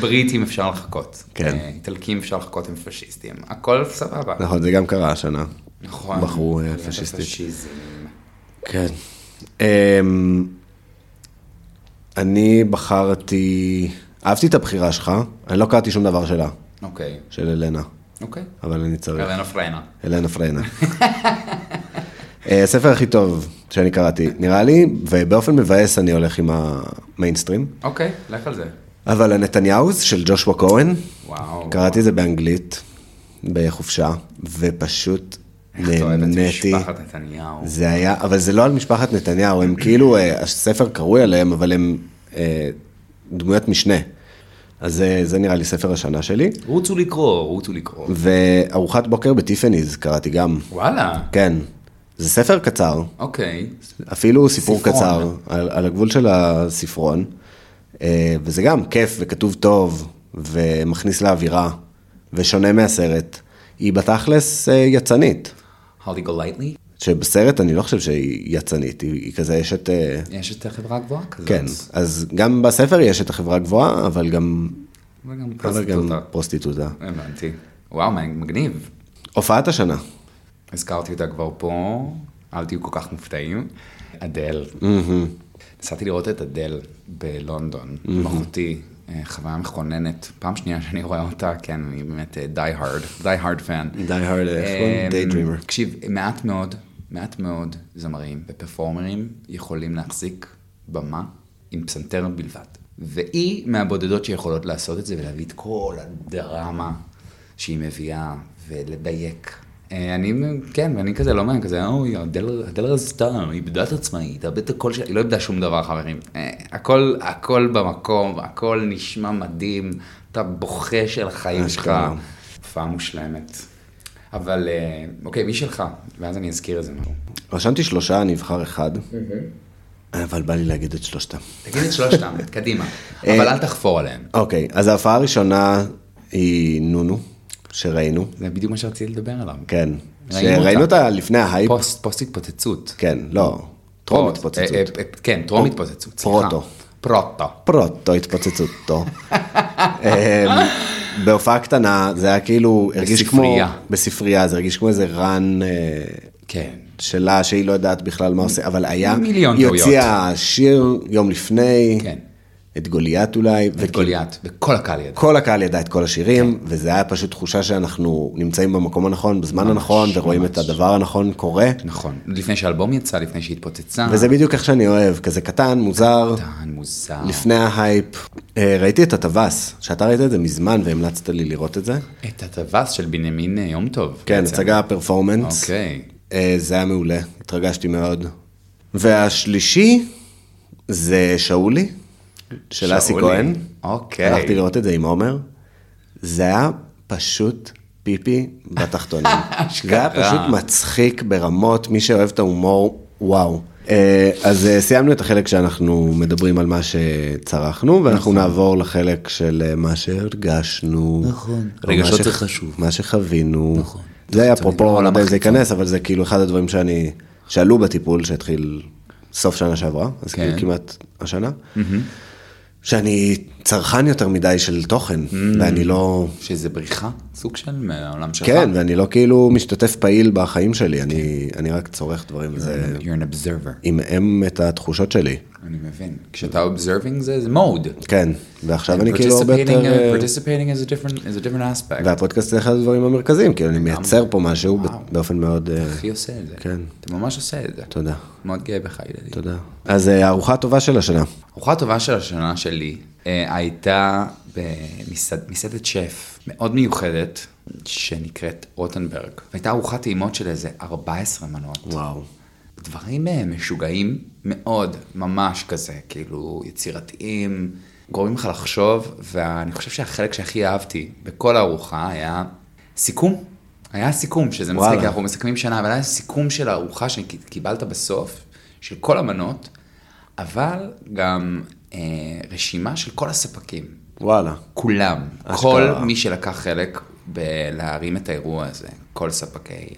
בריטים אפשר לחכות. כן. אה, איטלקים אפשר לחכות עם פשיסטים. הכל סבבה. נכון, זה גם קרה השנה. נכון. בחרו אה, עליית פשיסטית. הפשיזם. כן. אמ, אני בחרתי, אהבתי את הבחירה שלך, אני לא קראתי שום דבר שלה, אוקיי, של אלנה, אוקיי. אבל אני צריך. אלנה פריינה. אלנה פריינה. אה, הספר הכי טוב שאני קראתי, נראה לי, ובאופן מבאס אני הולך עם המיינסטרים, אוקיי, לך על זה. אבל הנתניהוז של ג'ושוע כהן, וואו. קראתי את זה באנגלית, בחופשה, ופשוט איך אתה אוהב את נהניתי. משפחת נתניהו. זה היה, אבל זה לא על משפחת נתניהו, הם כאילו, אה, הספר קרוי עליהם, אבל הם אה, דמויות משנה. אז זה, זה נראה לי ספר השנה שלי. רוצו לקרוא, רוצו לקרוא. וארוחת בוקר בטיפניז קראתי גם, וואלה, כן. זה ספר קצר, אוקיי. אפילו סיפור ספרון. קצר, על, על הגבול של הספרון, אה, וזה גם כיף וכתוב טוב, ומכניס לאווירה, ושונה מהסרט. היא בתכלס אה, יצנית, הולי גולייטלי? שבסרט אני לא חושב שהיא יצנית, היא, היא כזה, יש את... אה, יש את החברה הגבוהה כזאת. כן, אז גם בספר יש את החברה הגבוהה, אבל גם וגם אבל גם פרסטיטוטה. פרוסטיטוטה. הבנתי. וואו, מה- מגניב. הופעת השנה, הזכרתי אותה כבר פה, אל תהיו כל כך מופתעים. אדל. Mm-hmm. נסעתי לראות את אדל בלונדון, עם אחותי, אה, חוויה מכוננת. פעם שנייה שאני רואה אותה, כן, אני באמת די הארד, די הארד פן. Die Hard, אה, אמ, Daydreamer. תקשיב, מעט מאוד, מעט מאוד זמרים ופרפורמרים יכולים להחזיק במה עם פסנתר בלבד. והיא מהבודדות שיכולות לעשות את זה ולהביא את כל הדרמה שהיא מביאה ולדייק. אה, אני, כן, ואני כזה לא מבין, כזה, אוי, הדל הדל רזתה, היא איבדה את עצמה, היא איבדה את הקול שלה, היא לא איבדה שום דבר, חברים. אה, הכל, הכל במקום, הכל נשמע מדהים, אתה בוכה של החיים שלך. אשכרה. הופעה מושלמת. אבל אה, אוקיי, מי שלך? ואז אני אזכיר איזה משהו. רשמתי שלושה, אני אבחר אחד, אבל בא לי להגיד את שלושתם. תגיד את שלושתם, קדימה. אה, אבל אל תחפור עליהם. אוקיי, אז ההופעה הראשונה היא נונו, שראינו, זה בדיוק מה שרציתי לדבר עליו. כן. ראינו שראינו אותה. אותה לפני ההייפ, פוסט, פוסט התפוצצות. כן, לא, אה, טרום פרוט. אה, התפוצצות. אה, אה, כן, טרום התפוצצות, סליחה. פרוטו. פרוטו. פרוטו התפוצצותו. אמ, בהופעה קטנה, זה היה כאילו, הרגיש כמו... בספרייה. בספרייה, זה הרגיש כמו איזה רן... אה, כן. שלה שהיא לא יודעת בכלל מה עושה, אבל היה, מיליון היא טעויות. הוציאה שיר יום לפני, כן. את גוליית אולי, את גוליית, וכל הקהל ידע. וכל הקהל ידע את כל השירים, וזה היה פשוט תחושה שאנחנו נמצאים במקום הנכון, בזמן הנכון, ורואים את הדבר הנכון קורה, נכון. לפני שהאלבום יצא, לפני שהיא התפוצצה. וזה בדיוק איך שאני אוהב, כזה קטן, מוזר, טען מוזר. לפני ההייפ. אה, ראיתי את הטווס, שאתה ראית את זה מזמן והמלצת לי לראות את זה. את הטווס של בנימין אה, יום טוב. כן, בעצם. הצגה פרפורמנס. אוקיי. אה, זה היה מעולה, התרגשתי מאוד. והשלישי זה שאולי, של אסי שאולי. כהן. אוקיי. הלכתי לראות את זה עם עומר. זה היה פשוט פיפי בתחתונים. זה היה פשוט מצחיק ברמות, מי שאוהב את ההומור, וואו. אה, אז אה, סיימנו את החלק שאנחנו מדברים על מה שצרחנו, נכון. ואנחנו נעבור לחלק של אה, מה שהרגשנו. נכון. רגשות זה חשוב. מה שחווינו. נכון. זה היה לא אפרופו, לא עולם יודע אם זה החיצון. ייכנס, אבל זה כאילו אחד הדברים שאני, שעלו בטיפול שהתחיל סוף שנה שעברה, אז כן. כאילו כמעט השנה, שאני צרכן יותר מדי של תוכן, ואני לא, שזה בריחה? סוג של מהעולם שלך. כן, ואני לא כאילו משתתף פעיל בחיים שלי, אני- כן. אני רק צורך דברים, וזה You're an observer. עמעם את התחושות שלי. אני מבין. כשאתה observing זה, זה מוד. כן, ועכשיו אני כאילו הרבה יותר... אה, participating is a different, is a different aspect. והפודקאסט זה אחד הדברים המרכזיים, כאילו אני מייצר פה משהו ב- וואו. באופן מאוד... אה, אחי עושה את זה. כן. אתה ממש עושה את זה. תודה, מאוד גאה בך, ילדי. תודה. אז אה, הארוחה הטובה של השנה. ארוחה טובה של השנה שלי אה, הייתה במסעד- מסעדת שף מאוד מיוחדת, שנקראת רוטנברג. הייתה ארוחת טעימות של איזה 14 מנות. וואו. דברים אה, משוגעים מאוד, ממש כזה, כאילו יצירתיים, גורמים לך לחשוב, ואני חושב שהחלק שהכי אהבתי בכל הארוחה היה סיכום. היה סיכום, שזה מצחיק, וואלה. כי אנחנו מסכמים שנה, אבל היה סיכום של הארוחה שקיבלת בסוף, של כל המנות, אבל גם אה, רשימה של כל הספקים. וואלה. כולם, אשכרה. כל מי שלקח חלק בלהרים את האירוע הזה, כל ספקי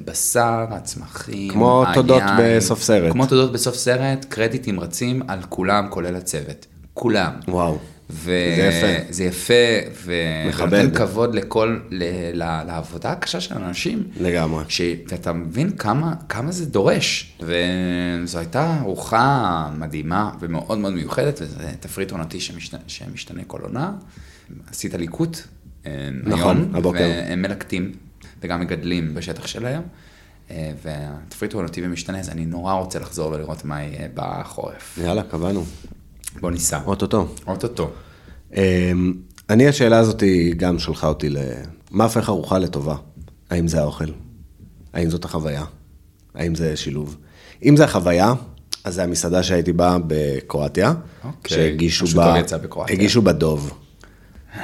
הבשר, הצמחים, כמו היין, תודות בסוף סרט. כמו תודות בסוף סרט, קרדיטים רצים על כולם, כולל הצוות. כולם. וואו. ו... זה יפה. זה יפה, ו... מכבד. ונותן כבוד לכל, ל... ל... לעבודה הקשה של אנשים. לגמרי. ש... ואתה מבין כמה, כמה זה דורש. וזו הייתה ארוחה מדהימה ומאוד מאוד מיוחדת, וזה תפריט עונתי שמשתנה, שמשתנה כל עונה. עשית ליקוט אה, נכון, היום, הבוקר. והם מלקטים וגם מגדלים בשטח שלהם. אה, והתפריט הוא עונתי ומשתנה, אז אני נורא רוצה לחזור ולראות מה יהיה בחורף. יאללה, קבענו. בוא ניסע. אוטוטו. אוטוטו. אמ, אני, השאלה הזאת היא גם שלחה אותי ל... מה הופך ארוחה לטובה? האם זה האוכל? האם זאת החוויה? האם זה שילוב? אם זה החוויה, אז זה המסעדה שהייתי בה בקרואטיה, אוקיי. שהגישו משהו בה, טוב יצא בקרואטיה. הגישו בה דוב.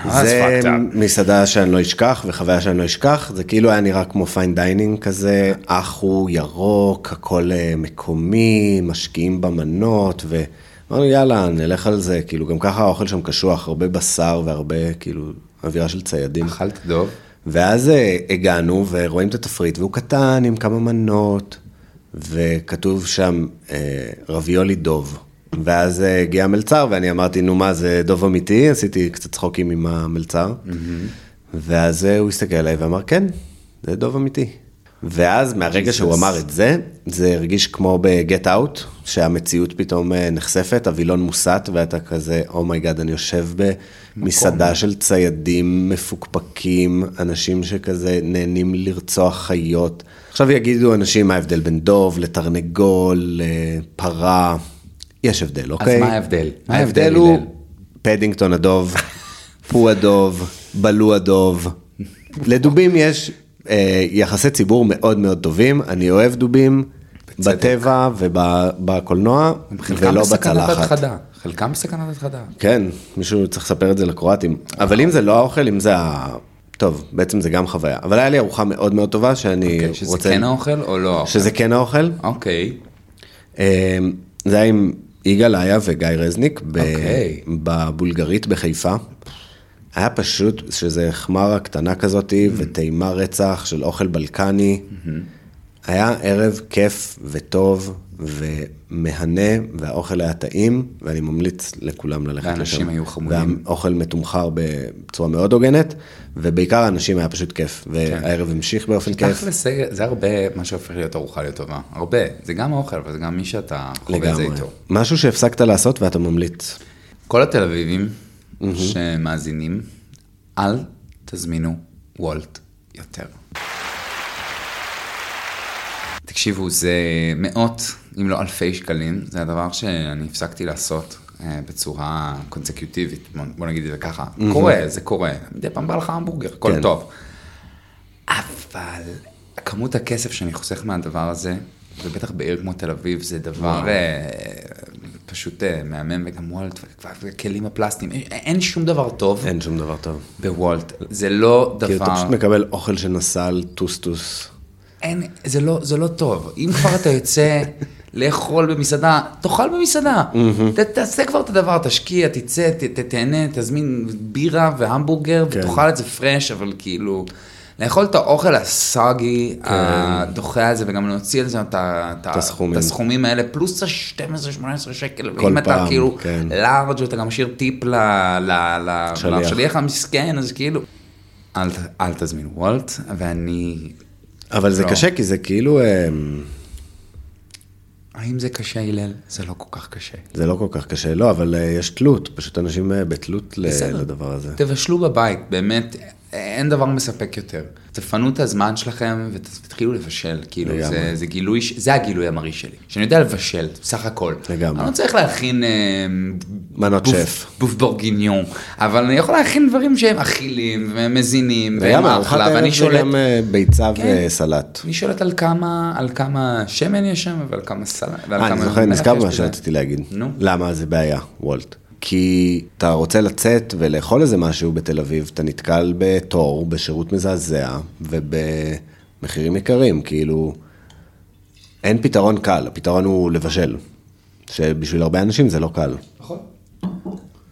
אז זה fucked up. מסעדה שאני לא אשכח וחוויה שאני לא אשכח, זה כאילו היה נראה כמו פיין דיינינג כזה, אחו, ירוק, הכל אה, מקומי, משקיעים במנות, ואמרנו יאללה, נלך על זה, כאילו גם ככה האוכל שם קשוח, הרבה בשר והרבה כאילו אווירה של ציידים. אכלת דוב? ואז אה, הגענו ורואים את התפריט, והוא קטן עם כמה מנות, וכתוב שם אה, רביולי דוב. ואז אה, הגיע המלצר, ואני אמרתי, נו מה, זה דוב אמיתי? עשיתי קצת צחוקים עם המלצר. ואז אה, הוא הסתכל עליי ואמר, כן, זה דוב אמיתי. ואז מהרגע שהוא אמר את זה, זה הרגיש כמו ב-get out, שהמציאות פתאום אה, נחשפת, הווילון מוסט, ואתה כזה, אומייגאד, אני יושב נכון. במסעדה של ציידים מפוקפקים, אנשים שכזה נהנים לרצוח חיות. עכשיו יגידו אנשים מה ההבדל בין דוב לתרנגול, לפרה, יש הבדל, אוקיי? מה ההבדל? מה ההבדל, ההבדל הוא הלל? פדינגטון הדוב, פו הדוב, בלו הדוב. לדובים יש אה, יחסי ציבור מאוד מאוד טובים, אני אוהב דובים. בצדק. בטבע ובקולנוע, חלקם ולא בסכנת בצלחת. התחדה. חלקם בסכנת התחדה. כן, מישהו צריך לספר את זה לקרואטים. אבל אם זה לא האוכל, אם זה ה... טוב, בעצם זה גם חוויה. אבל היה לי ארוחה מאוד מאוד טובה שאני כן, שזה רוצה... כן האוכל או לא האוכל? שזה כן האוכל. אוקיי. אה, זה היה עם יגאל איה וגיא רזניק ב- אוקיי. בבולגרית בחיפה. היה פשוט שזה חמרה קטנה כזאתי Mm-hmm. וטעימה רצח של אוכל בלקני. Mm-hmm. היה ערב כיף וטוב ומהנה והאוכל היה טעים ואני ממליץ לכולם ללכת לשם. והאנשים היו חמודים. והאוכל מתומחר בצורה מאוד הוגנת ובעיקר האנשים היה פשוט כיף כן. והערב המשיך באופן כיף. תכל'ס זה- זה הרבה מה שהופך להיות ארוחה להיות טובה. הרבה. זה גם האוכל, אבל זה גם מי שאתה חווה את זה לגמרי. איתו. משהו שהפסקת לעשות ואתה ממליץ. כל התל אביבים שמאזינים, אל תזמינו וולט יותר. תקשיבו, זה מאות, אם לא אלפי שקלים, זה הדבר שאני הפסקתי לעשות אה, בצורה קונסקיוטיבית, בוא- בוא נגיד את זה ככה. קורה, זה קורה. מדי פעם בא לך המבורגר, הכל כן. טוב. אבל כמות הכסף שאני חוסך מהדבר הזה, ובטח בעיר כמו תל אביב, זה דבר אה, פשוט אה, מהמם, וגם וולט, והכלים הפלסטיים, אין- אין שום דבר טוב אין שום דבר טוב. בוולט. זה לא כן. כאילו, אתה דבר... פשוט מקבל אוכל שנסע על טוסטוס. אין, זה לא, זה לא טוב. אם כבר אתה יוצא לאכול במסעדה, תאכל במסעדה. ת, תעשה כבר את הדבר, תשקיע, תצא, ת, ת, תהנה, תזמין בירה והמבורגר, כן. ותאכל את זה פרש, אבל כאילו, לאכול את האוכל הסאגי, כן. הדוחה הזה, וגם להוציא על זה את, ה- ה- הסכומים. את הסכומים האלה, פלוס ה-12-18 שקל, כל ואם אתה פעם, כאילו כן. לארג' ואתה גם משאיר טיפ ל- ל- ל- שליח. לשליח המסכן, אז כאילו, אל, ת- אל תזמין וולט, ואני... אבל זה לא. קשה, כי זה כאילו, אמ, האם זה קשה, הלל? זה לא כל כך קשה. זה לא כל כך קשה, לא, אבל אה, יש תלות, פשוט אנשים אה, בתלות ל- בסדר. לדבר הזה. תבשלו בבית, באמת, אין דבר מספק יותר. תפנו את הזמן שלכם ותתחילו לבשל, כאילו, לגמרי. זה, זה גילוי, ש- זה הגילוי המרי שלי, שאני יודע לבשל, בסך הכל. לגמרי. אני לא צריך להכין... אה, מנות בוף- שף. בוף בורגיניון, אבל אני יכול להכין דברים שהם אכילים ומזינים, והם וגם ארוחת אחלה, הערב ואני זה שולט גם אה, ביצה כן. וסלט. אני שולט על כמה, על כמה שמן יש שם ועל כמה סלט. ועל אה, אני כמה זוכר, מלח נזכר יש במה בזה. שרציתי להגיד. נו. למה זה בעיה, וולט. כי אתה רוצה לצאת ולאכול איזה משהו בתל אביב, אתה נתקל בתור, בשירות מזעזע ובמחירים יקרים, כאילו, אין פתרון קל, הפתרון הוא לבשל, שבשביל הרבה אנשים זה לא קל. נכון.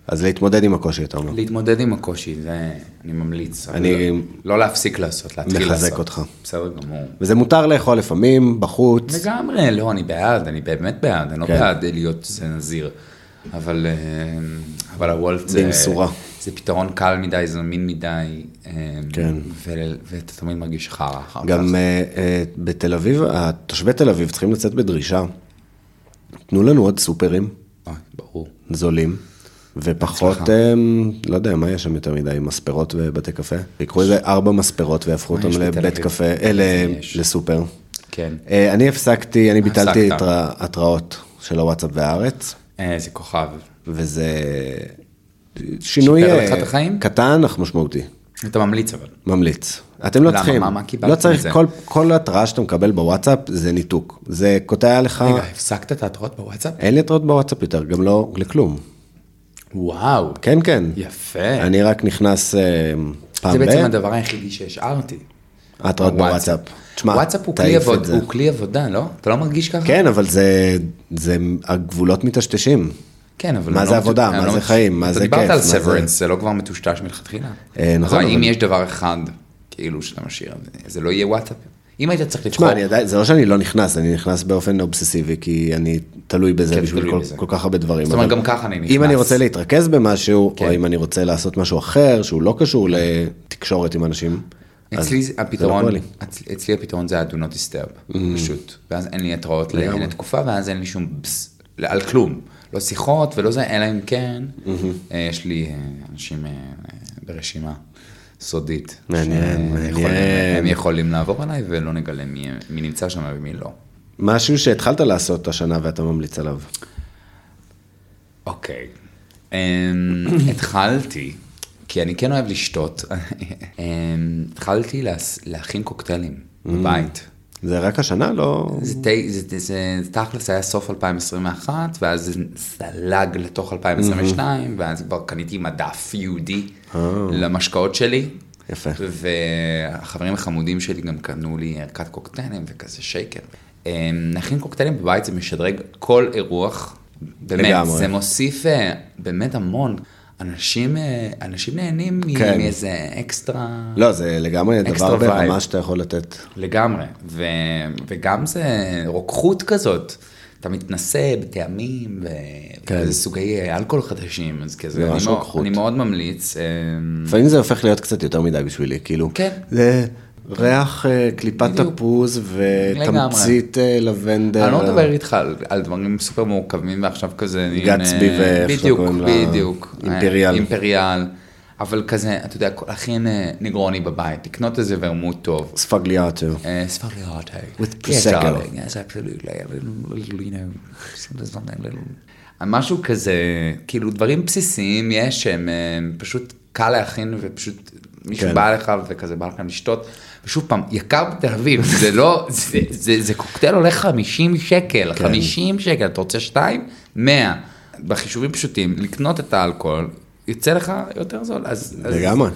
אז להתמודד עם הקושי, אתה אומר. להתמודד עם הקושי, זה אני ממליץ. אבל אני- לא- לא להפסיק לעשות, להתחיל לעשות. מחזק אותך. בסדר גמור. וזה מותר לאכול לפעמים, בחוץ, לגמרי, לא, אני בעד, אני באמת בעד, אני לא כן. בעד להיות זה נזיר. אבל, אה, אבל הוולט זה... במשורה. זה פתרון קל מדי, זמין מדי. אה, כן. ו- ואתה תמיד מרגיש חרא אחר כך. גם אה, אה, בתל אביב, אה, תושבי תל אביב צריכים לצאת בדרישה. תנו לנו עוד סופרים אה, ברור. זולים, ופחות, אה, לא יודע, מה יש שם יותר מדי, מספרות ובתי קפה? תיקחו איזה ארבע מספרות ויהפכו מה אותם יש בתל לבית אביב? קפה, אה, ל- יש. לסופר. כן. אה, אני הפסקתי, אני ביטלתי הפסקת. את ה- התראות של הוואטסאפ והארץ, אה, זה כוכב. וזה שינוי שיפר אה, לך את החיים? קטן אך משמעותי. אתה ממליץ אבל. אה. ממליץ. אתם לא למה? צריכים, מה- מה קיבלת לא צריך, מזה? כל, כל התראה שאתה מקבל בוואטסאפ זה ניתוק. זה קוטע לך, רגע, הפסקת את ההתראות בוואטסאפ? אין לי התראות בוואטסאפ יותר, גם לא לכלום. וואו. כן, כן. יפה. אני רק נכנס אה, זה פעם בעצם ב... הדבר היחידי שהשארתי. התראות בוואטסאפ. תשמע, וואטסאפ הוא כלי, תעיף את עבוד, זה. הוא כלי עבודה, לא? אתה לא מרגיש ככה? כן, אבל זה, זה, הגבולות מטשטשים. כן, אבל... מה אני זה לא עבודה? מטוש- מה אני לא זה מטוש- חיים? מה אתה זה דיברת כיף? על מה זה- severance, זה לא כבר מטושטש מלכתחילה. אה, נכון, אבל אם אבל- יש דבר אחד, כאילו, שאתה משאיר, זה לא יהיה וואטסאפ. אם היית צריך לבחור... תשמע, אני עדיין, זה לא שאני לא נכנס, אני נכנס באופן אובססיבי, כי אני תלוי בזה כן, בשביל תלוי כל, בזה. כל כך הרבה דברים. זאת אומרת, אבל גם ככה אני נכנס. אם אני רוצה להתרכז במשהו, כן. או אם אני רוצה לעשות משהו אחר, שהוא לא קשור לתקשורת עם אנשים, אז אצלי זה זה לא Mm. הפתרון, בא לי. אצ- אצלי הפתרון זה ה-do not disturb, פשוט. ואז אין לי התראות לעין התקופה, ואז אין לי שום בס, לא- על כלום. לא שיחות ולא זה, אלא אם כן, Mm-hmm. אה, יש לי אה, אנשים אה, אה, ברשימה סודית. מעניין, שהם מעניין. יכולים- הם יכולים לעבור עליי ולא נגלה מי מי נמצא שם ומי לא. משהו שהתחלת לעשות השנה ואתה ממליץ עליו. אוקיי. אמ, התחלתי, כי אני כן אוהב לשתות, אמ, התחלתי להס- להכין קוקטיילים Mm. בבית. זה רק השנה? לא... זה, די, זה, זה, זה, זה תכלס היה סוף 2021, ואז זה זלג לתוך 2022, ואז כבר קניתי מדף יהודי אה. למשקאות שלי. יפה. והחברים החמודים שלי גם קנו לי ערכת קוקטיילים וכזה שייקר. אה, נכין קוקטיילים בבית זה משדרג כל אירוח. באמת, לגמרי. זה מוסיף אה, באמת המון. אנשים, אה, אנשים נהנים מ- כן. מאיזה אקסטרה... לא, זה לגמרי דבר Extra vibe. ברמה שאתה יכול לתת. לגמרי, ו... וגם זה רוקחות כזאת. אתה מתנסה בטעמים, ו... כן. כן. סוגי אה, אלכוהול חדשים, אז כזה, זה אני, ממש מאוד, רוקחות. אני מאוד ממליץ. אה, לפעמים זה הופך להיות קצת יותר מדי בשבילי, כאילו. כן. זה ריח אה, קליפת בדיוק. תפוז ותמצית אה, לבנדר. אני לא מדבר איתך על, על דברים סופר מורכבים, ועכשיו כזה... אני, גטסבי אה, ואיך שלא בדיוק, קוראים לה, בדיוק. אה, אימפריאל. אימפריאל. אבל כזה, אתה יודע, להכין אה, נגרוני בבית, לקנות איזה ורמוט טוב. ספגליאטו. Uh, it's probably hard hey? With Yeah, Prosecco. darling, yes, absolutely. A little, little, you know, something little. משהו כזה, כאילו דברים בסיסיים יש שהם אה, פשוט קל להכין ופשוט מישהו כן. בא לך וכזה בא לכם לשתות. ושוב פעם, יקר בתל אביב, זה לא, זה, זה, זה קוקטייל הולך 50 שקל, כן. 50 שקל, אתה רוצה שתיים? 100. בחישובים פשוטים, לקנות את האלכוהול, יוצא לך יותר זול. אז, אז- לגמרי.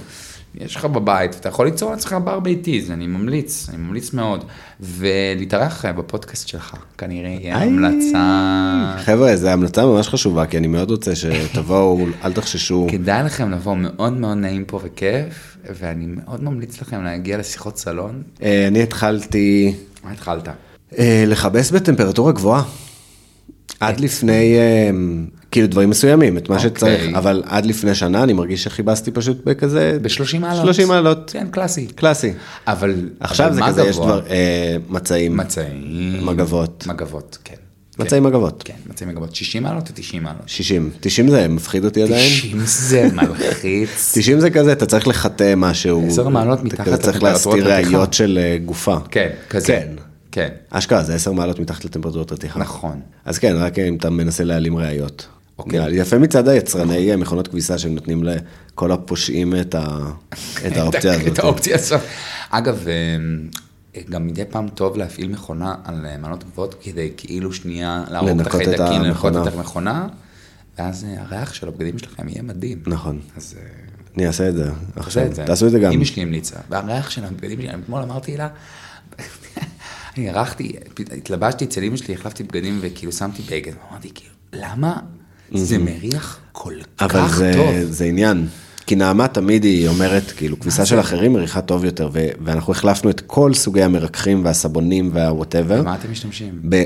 יש לך בבית, אתה יכול ליצור לעצמך בר ביתי, זה אני ממליץ, אני ממליץ מאוד. ולהתארח אה, בפודקאסט שלך, כנראה יהיה איי. המלצה. חבר'ה, זו המלצה ממש חשובה, כי אני מאוד רוצה שתבואו, אל תחששו. כדאי לכם לבוא, מאוד מאוד נעים פה וכיף, ואני מאוד ממליץ לכם להגיע לשיחות סלון. אה, אני התחלתי מה התחלת? אה, לכבס בטמפרטורה גבוהה. כן. עד לפני, אה, כאילו דברים מסוימים, את מה אוקיי. שצריך, אבל עד לפני שנה אני מרגיש שכיבסתי פשוט בכזה... ב-30 מעלות. 30 מעלות, כן, קלאסי. קלאסי. אבל עכשיו אבל זה מה כזה, יש גבוה? דבר, אה, מצעים, מצעים. מגבות. מגבות, כן. מצעים מגבות, כן, מצעים מגבות. 60 מעלות או 90 מעלות? 60, 90 זה מפחיד אותי עדיין. 90 זה מלחיץ. 90 זה כזה, אתה צריך לחטא משהו. עשר מעלות אתה מתחת כזה צריך לטמפרטורות להסתיר רתיחה. ראיות של אה, גופה. כן, כזה. כן. כן. אשכרה, זה 10 מעלות מתחת לטמפרטורת רתיחה. נכון. אז כן, רק אם אתה מנסה להעלים ראיות. אוקיי. נראה לי. יפה מצד היצרני אה, מכונות כביסה שהם נותנים לכל הפושעים את ה- את האופציה את הזאת. האופציה הזאת. אגב, אה, גם מדי פעם טוב להפעיל מכונה על אה, מעלות גבוהות כדי כאילו שנייה להרוג את לנקות את החיידקים, לנקות המכונה. את המכונה. ואז אה, הריח של הבגדים שלכם יהיה מדהים. נכון. אז אה, אני אעשה את זה. עכשיו, עושה את זה. תעשו את זה גם. אמא שלי המליצה. והריח של הבגדים שלי, אני אתמול אמרתי לה, אני ערכתי, התלבשתי אצל אמא שלי, החלפתי בגדים וכאילו שמתי בגד, אמרתי כאילו, למה זה מריח כל אבל כך זה, טוב? אה, זה עניין. כי נעמה תמיד היא אומרת, כאילו, כביסה של אחרים מריחה טוב יותר, ו- ואנחנו החלפנו את כל סוגי המרככים והסבונים והוואטאבר. במה אתם משתמשים? ב...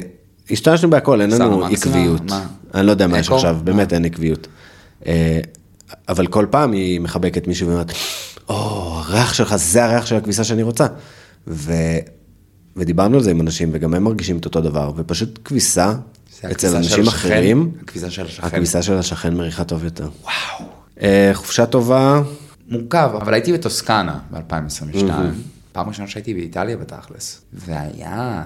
השתמשנו בהכל, אין סארה, לנו מה, עקביות. מה? אני לא יודע מה יש אקו? עכשיו, מה? באמת אין עקביות. אה, אבל כל פעם היא מחבקת מישהו ואומרת, או, הריח שלך, זה הריח של הכביסה שאני רוצה. ו... ודיברנו על זה עם אנשים, וגם הם מרגישים את אותו דבר, ופשוט כביסה זה אצל הכביסה של אנשים השכן, אחרים, הכביסה של השכן. הכביסה של השכן מריחה טוב יותר. וואו. אה, חופשה טובה, מורכב, אבל הייתי בטוסקנה ב-2022, פעם ראשונה שהייתי באיטליה בתכלס, והיה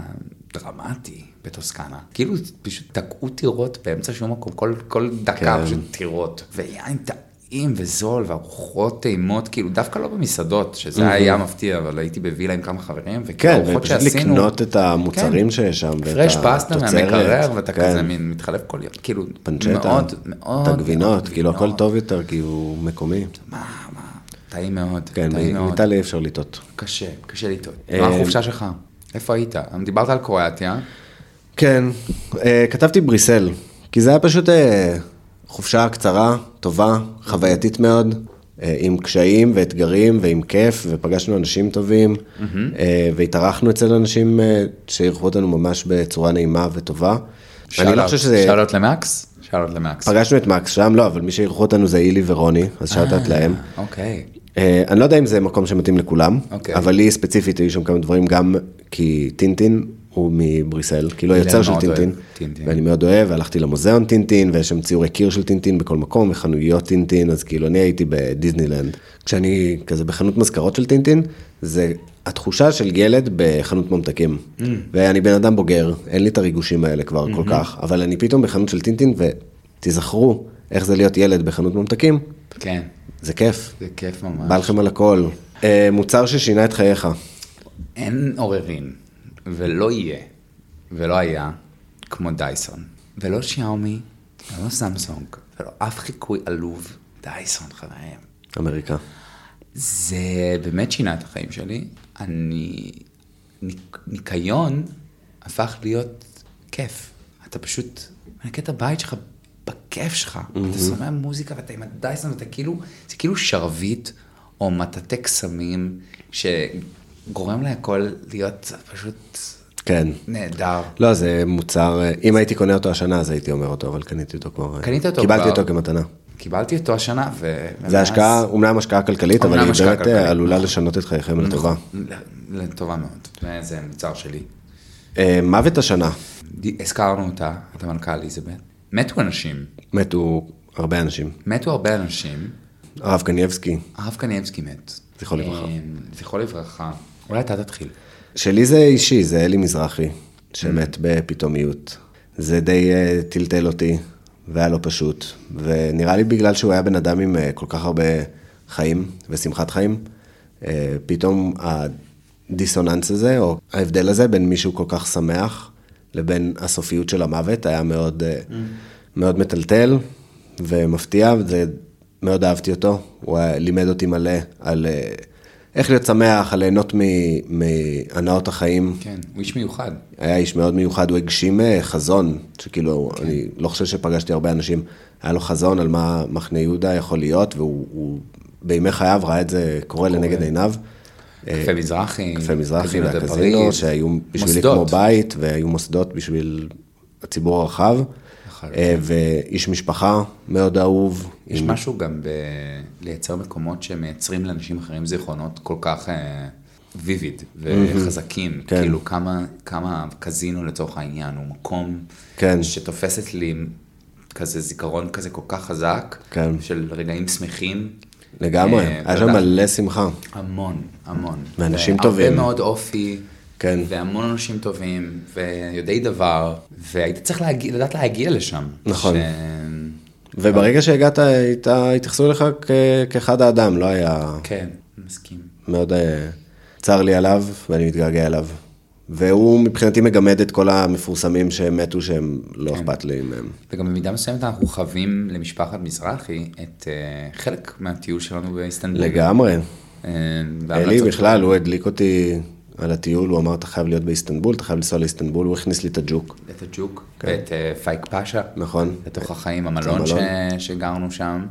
דרמטי בטוסקנה. כאילו פשוט תקעו טירות באמצע שום מקום, כל, כל דקה כן. פשוט טירות, ויין טעים וזול, וארוחות טעימות, כאילו דווקא לא במסעדות, שזה היה מפתיע, אבל הייתי בווילה עם כמה חברים, וכאילו כן, ארוחות ופשוט שעשינו... לקנות את המוצרים שיש שם, ואת פרש פסטה התוצרת. מהמקרר, ואתה כן. כזה מין מתחלף כל יום, כאילו, פנצ'טה, מאוד, מאוד, את הגבינות, מאוד כאילו הכל גבינות. טוב יותר, כי הוא מקומי. מה, מה, טעים מאוד, כן, טעים מאוד. מאיטליה אי אפשר לטעות. קשה, קשה לטעות. אה, מה החופשה שלך? איפה היית? אמ, דיברת על קרואטיה, כן, אה, כתבתי בריסל, כי זה היה פשוט אה, חופשה קצרה, טובה, חווייתית מאוד, אה, עם קשיים ואתגרים ועם כיף, ופגשנו אנשים טובים, אה, והתארחנו אצל אנשים אה, שאירחו אותנו ממש בצורה נעימה וטובה. אני לא חושב שזה... שאלות למקס? שאלות למקס. פגשנו את מקס שם, לא, אבל מי שאירחו אותנו זה אילי ורוני, אז שאלת להם. אוקיי. אה, אני לא יודע אם זה מקום שמתאים לכולם, אוקיי. אבל לי ספציפית היו שם כמה דברים, גם כי טינטין הוא מבריסל, כאילו אילן היוצר של מאוד אוהב טינטין, טינטין. ואני מאוד אוהב, הלכתי למוזיאון טינטין, ויש שם ציורי קיר של טינטין בכל מקום, וחנויות טינטין, אז כאילו אני הייתי בדיסנילנד. כשאני כזה בחנות מזכרות של טינטין, זה התחושה של ילד בחנות ממתקים. Mm. ואני בן אדם בוגר, אין לי את הריגושים האלה כבר כל Mm-hmm. כך, אבל אני פתאום בחנות של טינטין, ותיזכרו איך זה להיות ילד בחנות ממתקים, כן, זה כיף. זה כיף ממש. בא לכם על הכל. אה, מוצר ששינה את חייך. אין עוררין, ולא יהיה, ולא היה, כמו דייסון. ולא שיאומי, ולא סמסונג, ולא אף חיקוי עלוב. דייסון, חברים. אמריקה. זה באמת שינה את החיים שלי. אני... ניק- ניקיון הפך להיות כיף. אתה פשוט מנקה את הבית שלך בכיף שלך. אתה שומע מוזיקה ואתה עם הדייסון ואתה כאילו, זה כאילו שרביט או מטאטא קסמים שגורם להכל להיות פשוט כן. נהדר. לא, זה מוצר, אה, אם הייתי קונה אותו השנה, אז הייתי אומר אותו, אבל קניתי אותו כבר. אה, קנית אותו קיבלתי כבר. אה, אותו כמתנה. קיבלתי אותו השנה ו... זה השקעה, אומנם השקעה כלכלית, אבל אומנם היא השקעה באמת כלכלית, נכון. אה, עלולה לשנות את חייכם לטובה. לטובה מאוד. זה מוצר שלי. אה, מוות השנה. ד- הזכרנו אותה, את המנכ"ל איזבט. מתו אנשים, מתו הרבה אנשים. מתו הרבה אנשים. הרב קנייבסקי. הרב קנייבסקי מת. זכרו לברכה. אמ, זכרו לברכה. אולי אתה תתחיל. שלי זה אישי, זה אלי מזרחי, שמת בפתאומיות. זה די אה, טלטל אותי, והיה לא פשוט. ונראה לי בגלל שהוא היה בן אדם עם אה, כל כך הרבה חיים ושמחת חיים, אה, פתאום הדיסוננס הזה, או ההבדל הזה בין מישהו כל כך שמח לבין הסופיות של המוות, היה מאוד, אה, מאוד מטלטל ומפתיע, וזה... מאוד אהבתי אותו, הוא היה- לימד אותי מלא על אה, איך להיות שמח, על ליהנות מ- מהנאות החיים. כן, הוא איש מיוחד. היה איש מאוד מיוחד, הוא הגשים אה, חזון, שכאילו, כן. אני לא חושב שפגשתי הרבה אנשים, היה לו חזון על מה מחנה יהודה יכול להיות, והוא הוא, בימי חייו ראה את זה קורה כן. לנגד עיניו. קפה מזרחי. אה, קפה מזרחי קזינו דה והקזינו, פריז, שהיו בשבילי מוסדות. כמו בית, והיו מוסדות בשביל הציבור הרחב. לחלוטין. אה, ואיש משפחה מאוד אהוב. יש עם- משהו גם בלייצר מקומות שמייצרים לאנשים אחרים זיכרונות כל כך ויביד וחזקים. כן. כאילו כמה, כמה קזינו לצורך העניין הוא מקום כן. שתופסת לי כזה זיכרון כזה כל כך חזק, כן. של רגעים שמחים. לגמרי, אה, היה שם תודה. מלא שמחה. המון, המון. ואנשים והרבה טובים. מאוד אופי. כן. והמון אנשים טובים, ויודעי דבר, והיית צריך להגיע, לדעת להגיע לשם. נכון. ש... וברגע שהגעת, הייתה, התייחסו אליך כ- כאחד האדם, לא היה... כן, מסכים. מאוד אה, צר לי עליו, ואני מתגעגע אליו. והוא מבחינתי מגמד את כל המפורסמים שהם מתו, שהם לא כן. אכפת לי מהם. וגם במידה מסוימת אנחנו חווים למשפחת מזרחי את אה, חלק מהטיול שלנו באיסטנבול. לגמרי. אה, אלי וההמלצות בכלל, הוא הדליק אותי על הטיול, הוא אמר, אתה חייב להיות באיסטנבול, אתה חייב לנסוע לאיסטנבול, הוא הכניס לי את הג'וק, שלו, את הג'וק, ואת אה, פייק פאשה. נכון? לתוך החיים, המלון ש... כן. המלון. שגרנו שם,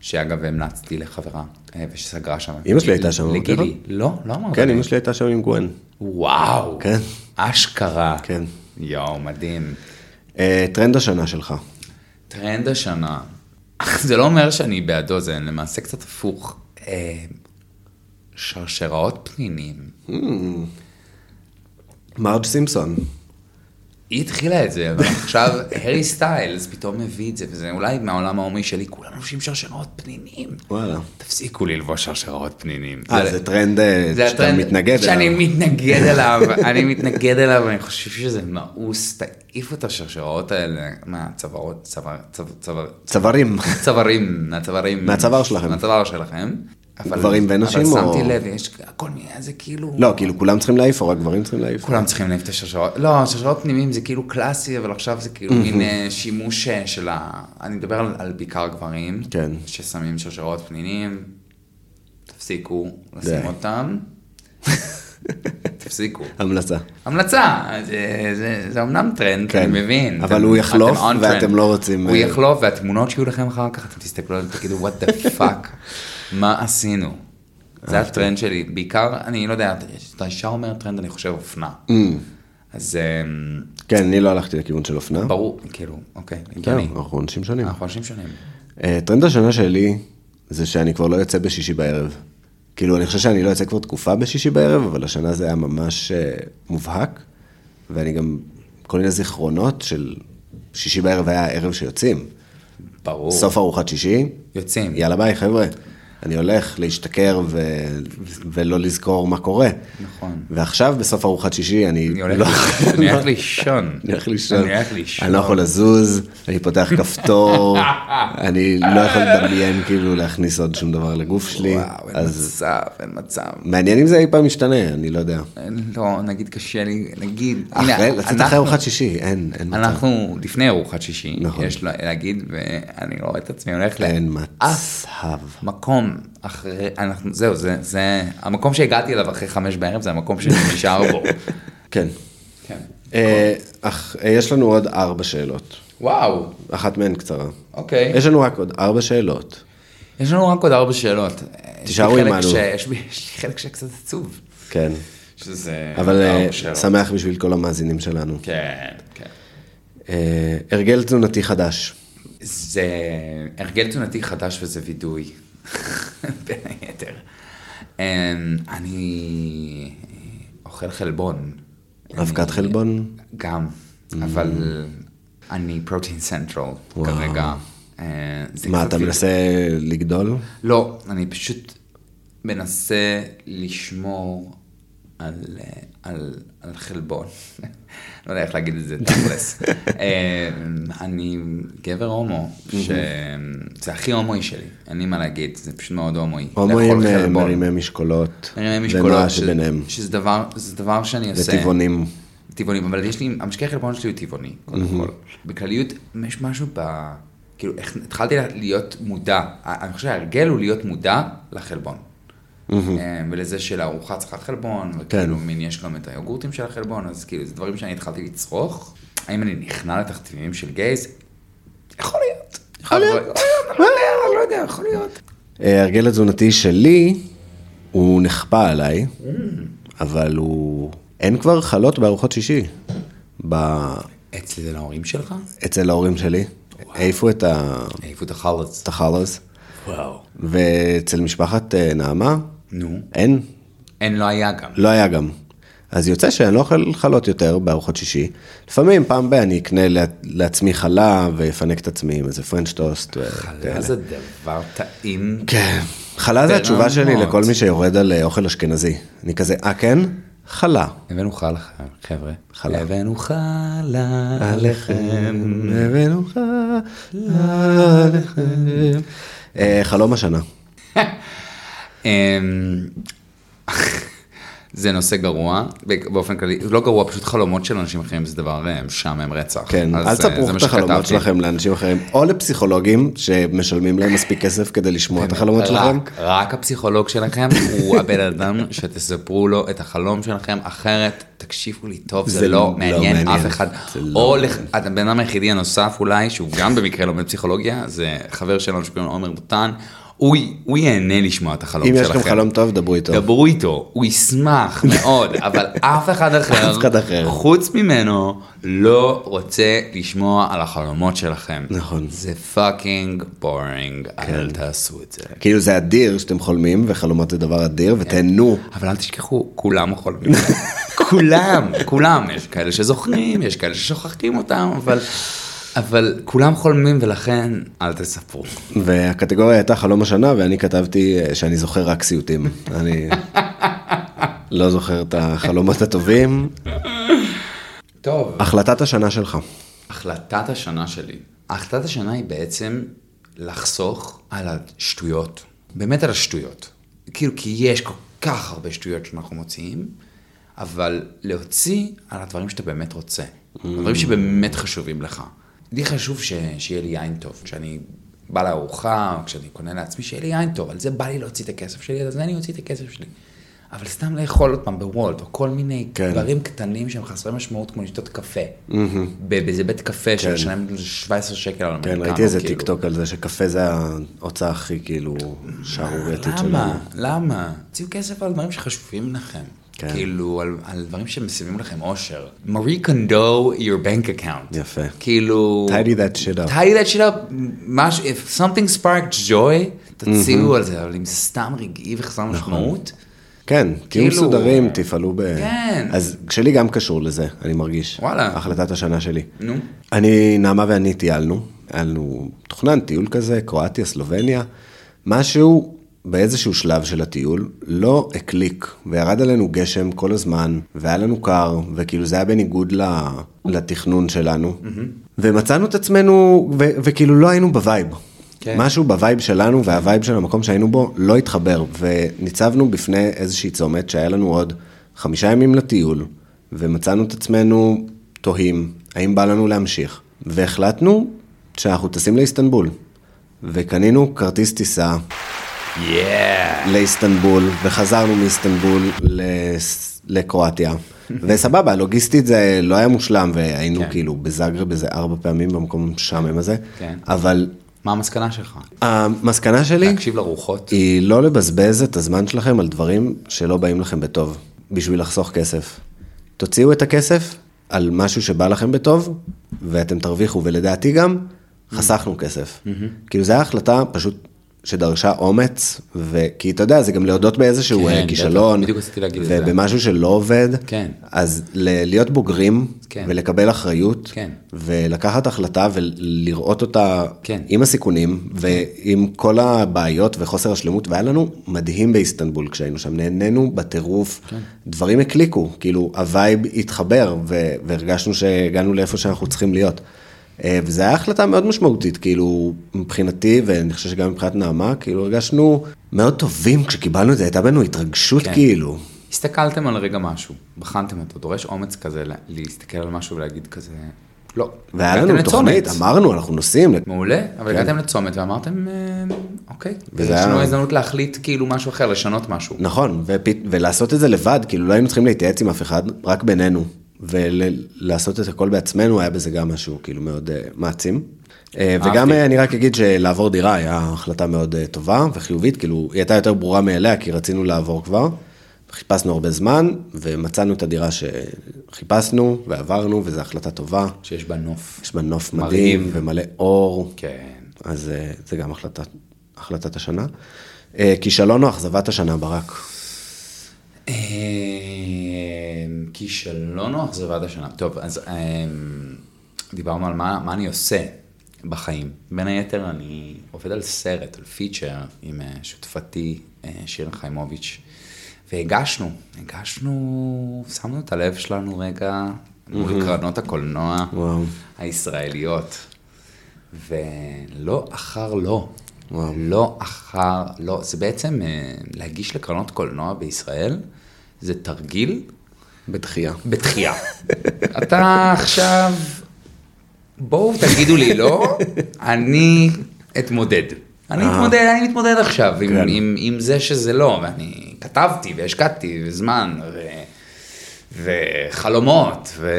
שאגב המלצתי לחברה, אה, ושסגרה שם. אמא שלי הייתה שם, לגילי. נכון? לא, לא אמרת. כן, לי. אמא שלי הייתה שם עם גוון. וואו. כן. אשכרה. כן. יואו, מדהים. אה, טרנד השנה שלך. טרנד השנה. זה לא אומר שאני בעדו, זה למעשה קצת הפוך. אה, שרשראות פנינים. מרג' סימפסון. היא התחילה את זה, אבל עכשיו הארי סטיילס פתאום מביא את זה, וזה אולי מהעולם ההומי שלי, כולם לובשים שרשראות פנינים. וואלה. תפסיקו ללבוש שרשראות פנינים. אה, זה טרנד אה, זה שאתה הטרנד מתנגד שאני אליו. מתנגד אליו, אני מתנגד אליו, אני חושב שזה מאוס, תעיפו את השרשראות האלה מהצווארות, צוואר, צוואר, צוואר, צווארים. צווארים, מהצווארים. מהצוואר שלכם. מהצוואר שלכם. אבל- גברים ונשים, אבל או- שמתי לב, יש כל מיני, זה כאילו... לא, כאילו כולם צריכים להעיף, או רק גברים צריכים להעיף. כולם צריכים להעיף את השרשראות, לא, השרשראות פנימיים זה כאילו קלאסי, אבל עכשיו זה כאילו מין אה, שימוש אה, של ה... אני מדבר על, על בעיקר גברים, כן. ששמים שרשראות פנימיים, תפסיקו לשים די. אותם, תפסיקו. המלצה. המלצה, זה, זה, זה אמנם טרנד, כן. אני מבין. אבל אתם- הוא יחלוף, אתם on ואתם trend. לא רוצים, הוא אה, יחלוף, והתמונות שיהיו לכם אחר כך, אתם תסתכלו עליהם ותגידו, what the fuck, מה עשינו? זה אוקיי. הטרנד שלי, בעיקר, אני לא יודע, אתה ישר אומר טרנד, אני חושב אופנה. Mm. אז אמ, כן, אני לא הלכתי לכיוון של אופנה. ברור, כאילו, אוקיי, זהו, הגיוני. אנחנו אנשים שונים. אנחנו אנשים שונים. אה, טרנד השנה שלי זה שאני כבר לא יוצא בשישי בערב. כאילו, אני חושב שאני לא יוצא כבר תקופה בשישי בערב, אבל השנה זה היה ממש אה, מובהק, ואני גם, כל מיני זיכרונות של שישי בערב היה הערב שיוצאים. ברור. סוף ארוחת שישי, יוצאים. יאללה ביי חבר'ה, אני הולך להשתכר ו... ולא לזכור מה קורה. נכון. ועכשיו בסוף ארוחת שישי אני אני הולך לא- לישון, אני הולך לישון. אני הולך לישון, אני הולך לישון. אני לא יכול לזוז, אני פותח כפתור, אני לא יכול לדמיין כאילו להכניס עוד שום דבר לגוף שלי, וואו, אין אז מצב, אין מצב. מעניין אם זה אי פעם משתנה, אני לא יודע. לא, נגיד קשה לי, נגיד, אה, אחרי, הנה, לצאת אנחנו- אחרי ארוחת שישי, אין, אין מצב. אנחנו לפני ארוחת שישי, נכון. יש לה- להגיד, ואני לא רואה את עצמי הולך אין לאף מצב. מקום אחרי, אנחנו, זהו, זה, זה, המקום שהגעתי אליו אחרי חמש בערב זה המקום שאני נשאר בו. כן. כן. אה, אך אה, יש לנו עוד ארבע שאלות, וואו, אחת מהן קצרה. אוקיי. יש לנו רק עוד ארבע שאלות. יש לנו רק עוד ארבע שאלות. יש לי תישארו חלק עמנו. ש- יש בי- יש לי חלק שקצת עצוב. כן. שזה אבל אה, ארבע שאלות. שמח בשביל כל המאזינים שלנו. כן, כן. אה, הרגל תזונתי חדש. זה הרגל תזונתי חדש וזה וידוי, בין היתר. אמ, אני אוכל חלבון. אבקת אני- חלבון? Mm. גם, אבל אני פרוטין סנטרל וואו. כרגע. אה, זה מה, קצת אתה לי- מנסה לגדול? לא, אני פשוט מנסה לשמור על, אה, על, על חלבון. לא יודע איך להגיד את זה תכלס. אה, אני גבר הומו, שזה הכי הומואי שלי, אין לי מה להגיד, זה פשוט מאוד הומואי. הומואים לאכול אה, חלבון. מרימי משקולות. מרימי ונועה משקולות, ש- שביניהם. שזה דבר, זה דבר שאני עושה. וטבעונים. טבעונים, אבל יש לי, המשקה החלבון שלי הוא טבעוני, קודם כל. בכלליות, יש משהו ב... כאילו, איך- התחלתי לה- להיות מודע, ה- אני חושב שההרגל הוא להיות מודע לחלבון. אה, ולזה שלארוחה צריכה חלבון, וכאילו מין יש גם את היוגורטים של החלבון, אז כאילו, זה דברים שאני התחלתי לצרוך. האם אני נכנע לתכתיבים של גייז? יכול להיות. יכול להיות. אני לא יודע, אני לא יודע, יכול להיות. אה, ההרגל התזונתי שלי, הוא נכפה עליי, אבל הוא... אין כבר חלות בארוחות שישי. ב- אצלי זה להורים שלך? אצל ההורים שלי. העיפו את ה- העיפו את החלץ. את החלוס, וואו. ואצל משפחת אה, נעמה, נו. אין, אין, לא היה גם. לא היה גם. אז יוצא שאני לא אוכל חלות יותר בארוחות שישי. לפעמים, פעם ב- אני אקנה לע- לעצמי חלה ויפנק את עצמי עם איזה פרנץ' טוסט. חלה זה דבר טעים. כן. חלה זה התשובה שלי ברמות. לכל מי שיורד על אה, אוכל אשכנזי. אני כזה, אה כן? חלה. הבאנו חלה, חבר'ה. חלה. הבאנו חלה עליכם. הבאנו חלה עליכם. אה, חלום השנה. אמ, זה נושא גרוע, באופן כללי, לא גרוע, פשוט חלומות של אנשים אחרים זה דבר אה, משעמם רצח. כן, אז, אל אה, תספרו זה מה את החלומות שכתבתי. שלכם לאנשים אחרים, או לפסיכולוגים שמשלמים להם מספיק כסף כדי לשמוע את החלומות שלכם. כן, רק, רק הפסיכולוג שלכם הוא הבן אדם שתספרו לו את החלום שלכם, אחרת תקשיבו לי טוב, זה, זה לא לא מעניין מעניין. אף אחד. זה לא או לח- הבן אדם היחידי הנוסף אולי, שהוא גם במקרה לומד פסיכולוגיה, זה חבר שלנו שקוראים לו עומר בוטן, הוא, י- הוא ייהנה לשמוע את החלום אם שלכם. יש לכם חלום טוב, דברו איתו. דברו איתו, הוא ישמח מאוד, אבל אף אחד אחר, אף אחד אחר. חוץ ממנו, לא רוצה לשמוע על החלומות שלכם. נכון. כן. זה פאקינג בורינג, אל תעשו את זה. כאילו זה אדיר שאתם חולמים, וחלומות זה דבר אדיר, ותהנו. אבל אל תשכחו, כולם חולמים. כולם, כולם. יש כאלה שזוכרים, יש כאלה ששוכחים אותם, אבל... אבל כולם חולמים ולכן אל תספרו. והקטגוריה הייתה חלום השנה, ואני כתבתי אה, שאני זוכר רק סיוטים. אני לא זוכר את החלומות הטובים. טוב. החלטת השנה שלך. החלטת השנה שלי. החלטת השנה היא בעצם לחסוך על השטויות. באמת על השטויות. כאילו, כי יש כל כך הרבה שטויות שאנחנו מוציאים, אבל להוציא על הדברים שאתה באמת רוצה. הדברים שבאמת חשובים לך. לי חשוב ש... שיהיה לי יין טוב. כשאני בא לארוחה, או כשאני קונה לעצמי, שיהיה לי יין טוב. על זה בא לי להוציא את הכסף שלי, על זה אני אוציא את הכסף שלי. אבל סתם לאכול עוד פעם בוולט, או כל מיני כן. דברים. דברים קטנים שהם חסרי משמעות, כמו לשתות קפה. ב- באיזה בית קפה שמשלם 17 שקל על כן, אמריקנו. ראיתי איזה כאילו. טיק טוק על זה שקפה זה ההוצאה הכי כאילו שערורייתית שלנו. למה? למה? תוציאו כסף על דברים שחשובים לכם. כן. כאילו, על, על דברים שמסבים לכם אושר. מרי קונדו, your bank account. יפה. כאילו... Tidy that shit up. tidy that shit up. מש... If something sparked joy, תוציאו על זה, אבל אם זה סתם רגעי וחסר נכון. משמעות, כן, תהיו כאילו- מסודרים, תפעלו ב... כן. אז שלי גם קשור לזה, אני מרגיש. וואלה. החלטת השנה שלי. נו. אני, נעמה ואני טיילנו, היה לנו תוכנן טיול כזה, קרואטיה, סלובניה, משהו באיזשהו שלב של הטיול לא הקליק, וירד עלינו גשם כל הזמן, והיה לנו קר, וכאילו זה היה בניגוד ל- לתכנון שלנו, ומצאנו את עצמנו, ו- וכאילו לא היינו בווייב. כן. משהו משהו בווייב שלנו והווייב של המקום שהיינו בו לא התחבר, וניצבנו בפני איזושהי צומת שהיה לנו עוד חמישה ימים לטיול, ומצאנו את עצמנו תוהים, האם בא לנו להמשיך, והחלטנו שאנחנו טסים לאיסטנבול, וקנינו כרטיס טיסה יאה. לאיסטנבול, וחזרנו מאיסטנבול לס- לקרואטיה. וסבבה, לוגיסטית זה לא היה מושלם, והיינו כן. כאילו בזאגרב איזה ארבע פעמים במקום המשעמם הזה, כן. אבל מה המסקנה אה. שלך? המסקנה שלי... להקשיב לרוחות? היא לא לבזבז את הזמן שלכם על דברים שלא באים לכם בטוב, בשביל לחסוך כסף. תוציאו את הכסף על משהו שבא לכם בטוב, ואתם תרוויחו, ולדעתי גם, חסכנו כסף. כאילו, זו הייתה החלטה פשוט שדרשה אומץ, וכי אתה יודע, זה גם להודות באיזשהו כן, אה, בטח. כישלון, בדיוק רציתי להגיד את זה. ובמשהו שלא עובד, כן. אז ל- להיות בוגרים, כן. ולקבל אחריות, כן. ולקחת החלטה ולראות אותה כן. עם הסיכונים ועם כל הבעיות וחוסר השלמות, והיה לנו מדהים באיסטנבול כשהיינו שם, נהנינו בטירוף, דברים הקליקו, כאילו הווייב התחבר ו- והרגשנו שהגענו לאיפה שאנחנו צריכים להיות. אה, וזו הייתה החלטה מאוד משמעותית, כאילו, מבחינתי, ואני חושב שגם מבחינת נעמה, כאילו הרגשנו מאוד טובים כשקיבלנו את זה, הייתה בנו התרגשות כן. כאילו. הסתכלתם על רגע משהו, בחנתם אותו, דורש אומץ כזה לה- להסתכל על משהו ולהגיד כזה, לא. והיה הגעתם לנו לצומת. תוכנית, אמרנו, אנחנו נוסעים, מעולה, אבל הגעתם לצומת ואמרתם, אה, אוקיי, וזה יש לנו היה- הזדמנות להחליט כאילו משהו אחר, לשנות משהו. נכון, ופ... ולעשות את זה לבד, כאילו לא היינו צריכים להתייעץ עם אף אחד, רק בינינו. ולעשות את הכל בעצמנו, היה בזה גם משהו כאילו מאוד uh, מעצים. Uh, וגם uh, אני רק אגיד שלעבור דירה היה החלטה מאוד uh, טובה וחיובית, כאילו היא הייתה יותר ברורה מאליה, כי רצינו לעבור כבר. חיפשנו הרבה זמן, ומצאנו את הדירה שחיפשנו, ועברנו, וזו החלטה טובה. שיש בה נוף. יש בה נוף מרהיב. מדהים ומלא אור. כן. אז אה, זה גם החלטת, החלטת השנה. אה, כישלון או אכזבת השנה, ברק? אה, כישלון או אכזבת השנה. טוב, אז אה, דיברנו על מה, מה אני עושה בחיים. בין היתר, אני עובד על סרט, על פיצ'ר, עם אה, שותפתי אה, שירה חיימוביץ', והגשנו, הגשנו, שמנו את הלב שלנו רגע מול קרנות הקולנוע וואו. הישראליות. ולא אחר לא. וואו. לא אחר לא. זה בעצם אה, להגיש לקרנות קולנוע בישראל, זה תרגיל בדחייה. בתחייה. אתה עכשיו, בואו תגידו לי לא, אני אתמודד. אני אה. מתמודד, אני מתמודד עכשיו עם, כן. עם, עם זה שזה לא, ואני כתבתי והשקעתי וזמן ו, וחלומות ו,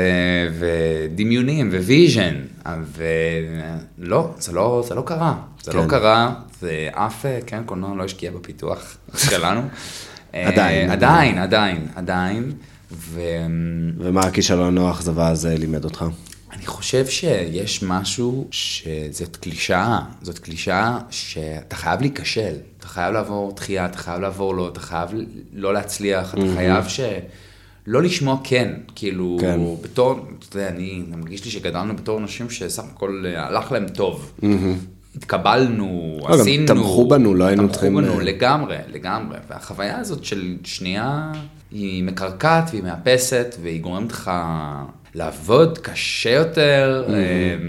ודמיונים וויז'ן, ולא, זה לא, זה לא קרה, זה לא כן. קרה, ואף אה, קרן קולנוע לא השקיע בפיתוח שלנו. אה, עדיין, עדיין, עדיין, עדיין, ו... ומה הכישלון או האכזבה הזה לימד אותך? אני חושב שיש משהו שזאת קלישאה, זאת קלישאה שאתה חייב להיכשל, אתה חייב לעבור דחייה, אתה חייב לעבור לא, אתה חייב לא להצליח, אתה חייב ש... לא לשמוע כן, כאילו, כן. בתור, אתה יודע, אני, אני מרגיש לי שגדלנו בתור אנשים שסך הכל אה, הלך להם טוב. התקבלנו, לא, גם עשינו. תמכו בנו, לא היינו תמכו צריכים, בנו, אה, לגמרי, לגמרי. והחוויה הזאת של שנייה, היא מקרקעת והיא מאפסת, והיא גורמת לך לעבוד קשה יותר. אה,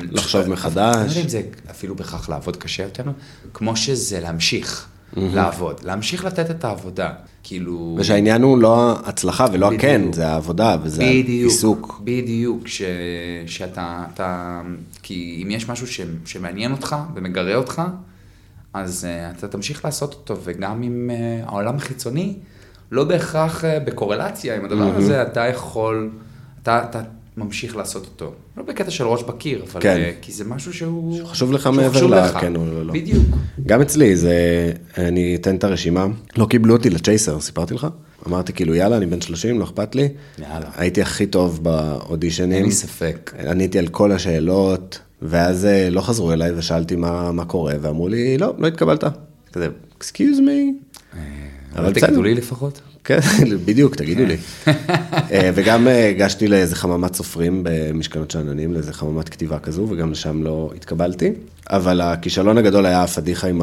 Mm-hmm. לחשוב אני מחדש. לא יודע אם זה אפילו בהכרח לעבוד קשה יותר, כמו שזה להמשיך Mm-hmm. לעבוד, להמשיך לתת את העבודה. כאילו... ושהעניין הוא לא ההצלחה ולא בדיוק. הכן, זה העבודה וזה בדיוק, העיסוק. בדיוק, ש, שאתה, אתה, כי אם יש משהו ש, שמעניין אותך ומגרה אותך, אז uh, אתה תמשיך לעשות אותו, וגם אם uh, העולם החיצוני לא בהכרח uh, בקורלציה עם הדבר mm-hmm. הזה, אתה יכול, אתה, אתה ממשיך לעשות אותו. לא בקטע של ראש בקיר, אבל כן. אה, כי זה משהו שהוא... חשוב לך שהוא מעבר חשוב ל- לך. כן או לא, לא. בדיוק. גם אצלי, זה, אני אתן את הרשימה. לא קיבלו אותי לצ'ייסר, סיפרתי לך? אמרתי כאילו, יאללה, אני בן 30, לא אכפת לי. יאללה. הייתי הכי טוב באודישנים. אין לי ספק. עניתי על כל השאלות, ואז אה, לא חזרו אליי ושאלתי מה, מה קורה, ואמרו לי, לא, לא התקבלת. כזה, אקסקיוז מי. אבל תגידו אה, לי לפחות. כן, בדיוק, תגידו לי. כן. אה, וגם אה, הגשתי לאיזה חממת סופרים במשכנות שאננים, לאיזה חממת כתיבה כזו, וגם לשם לא התקבלתי. אבל הכישלון הגדול היה הפדיחה עם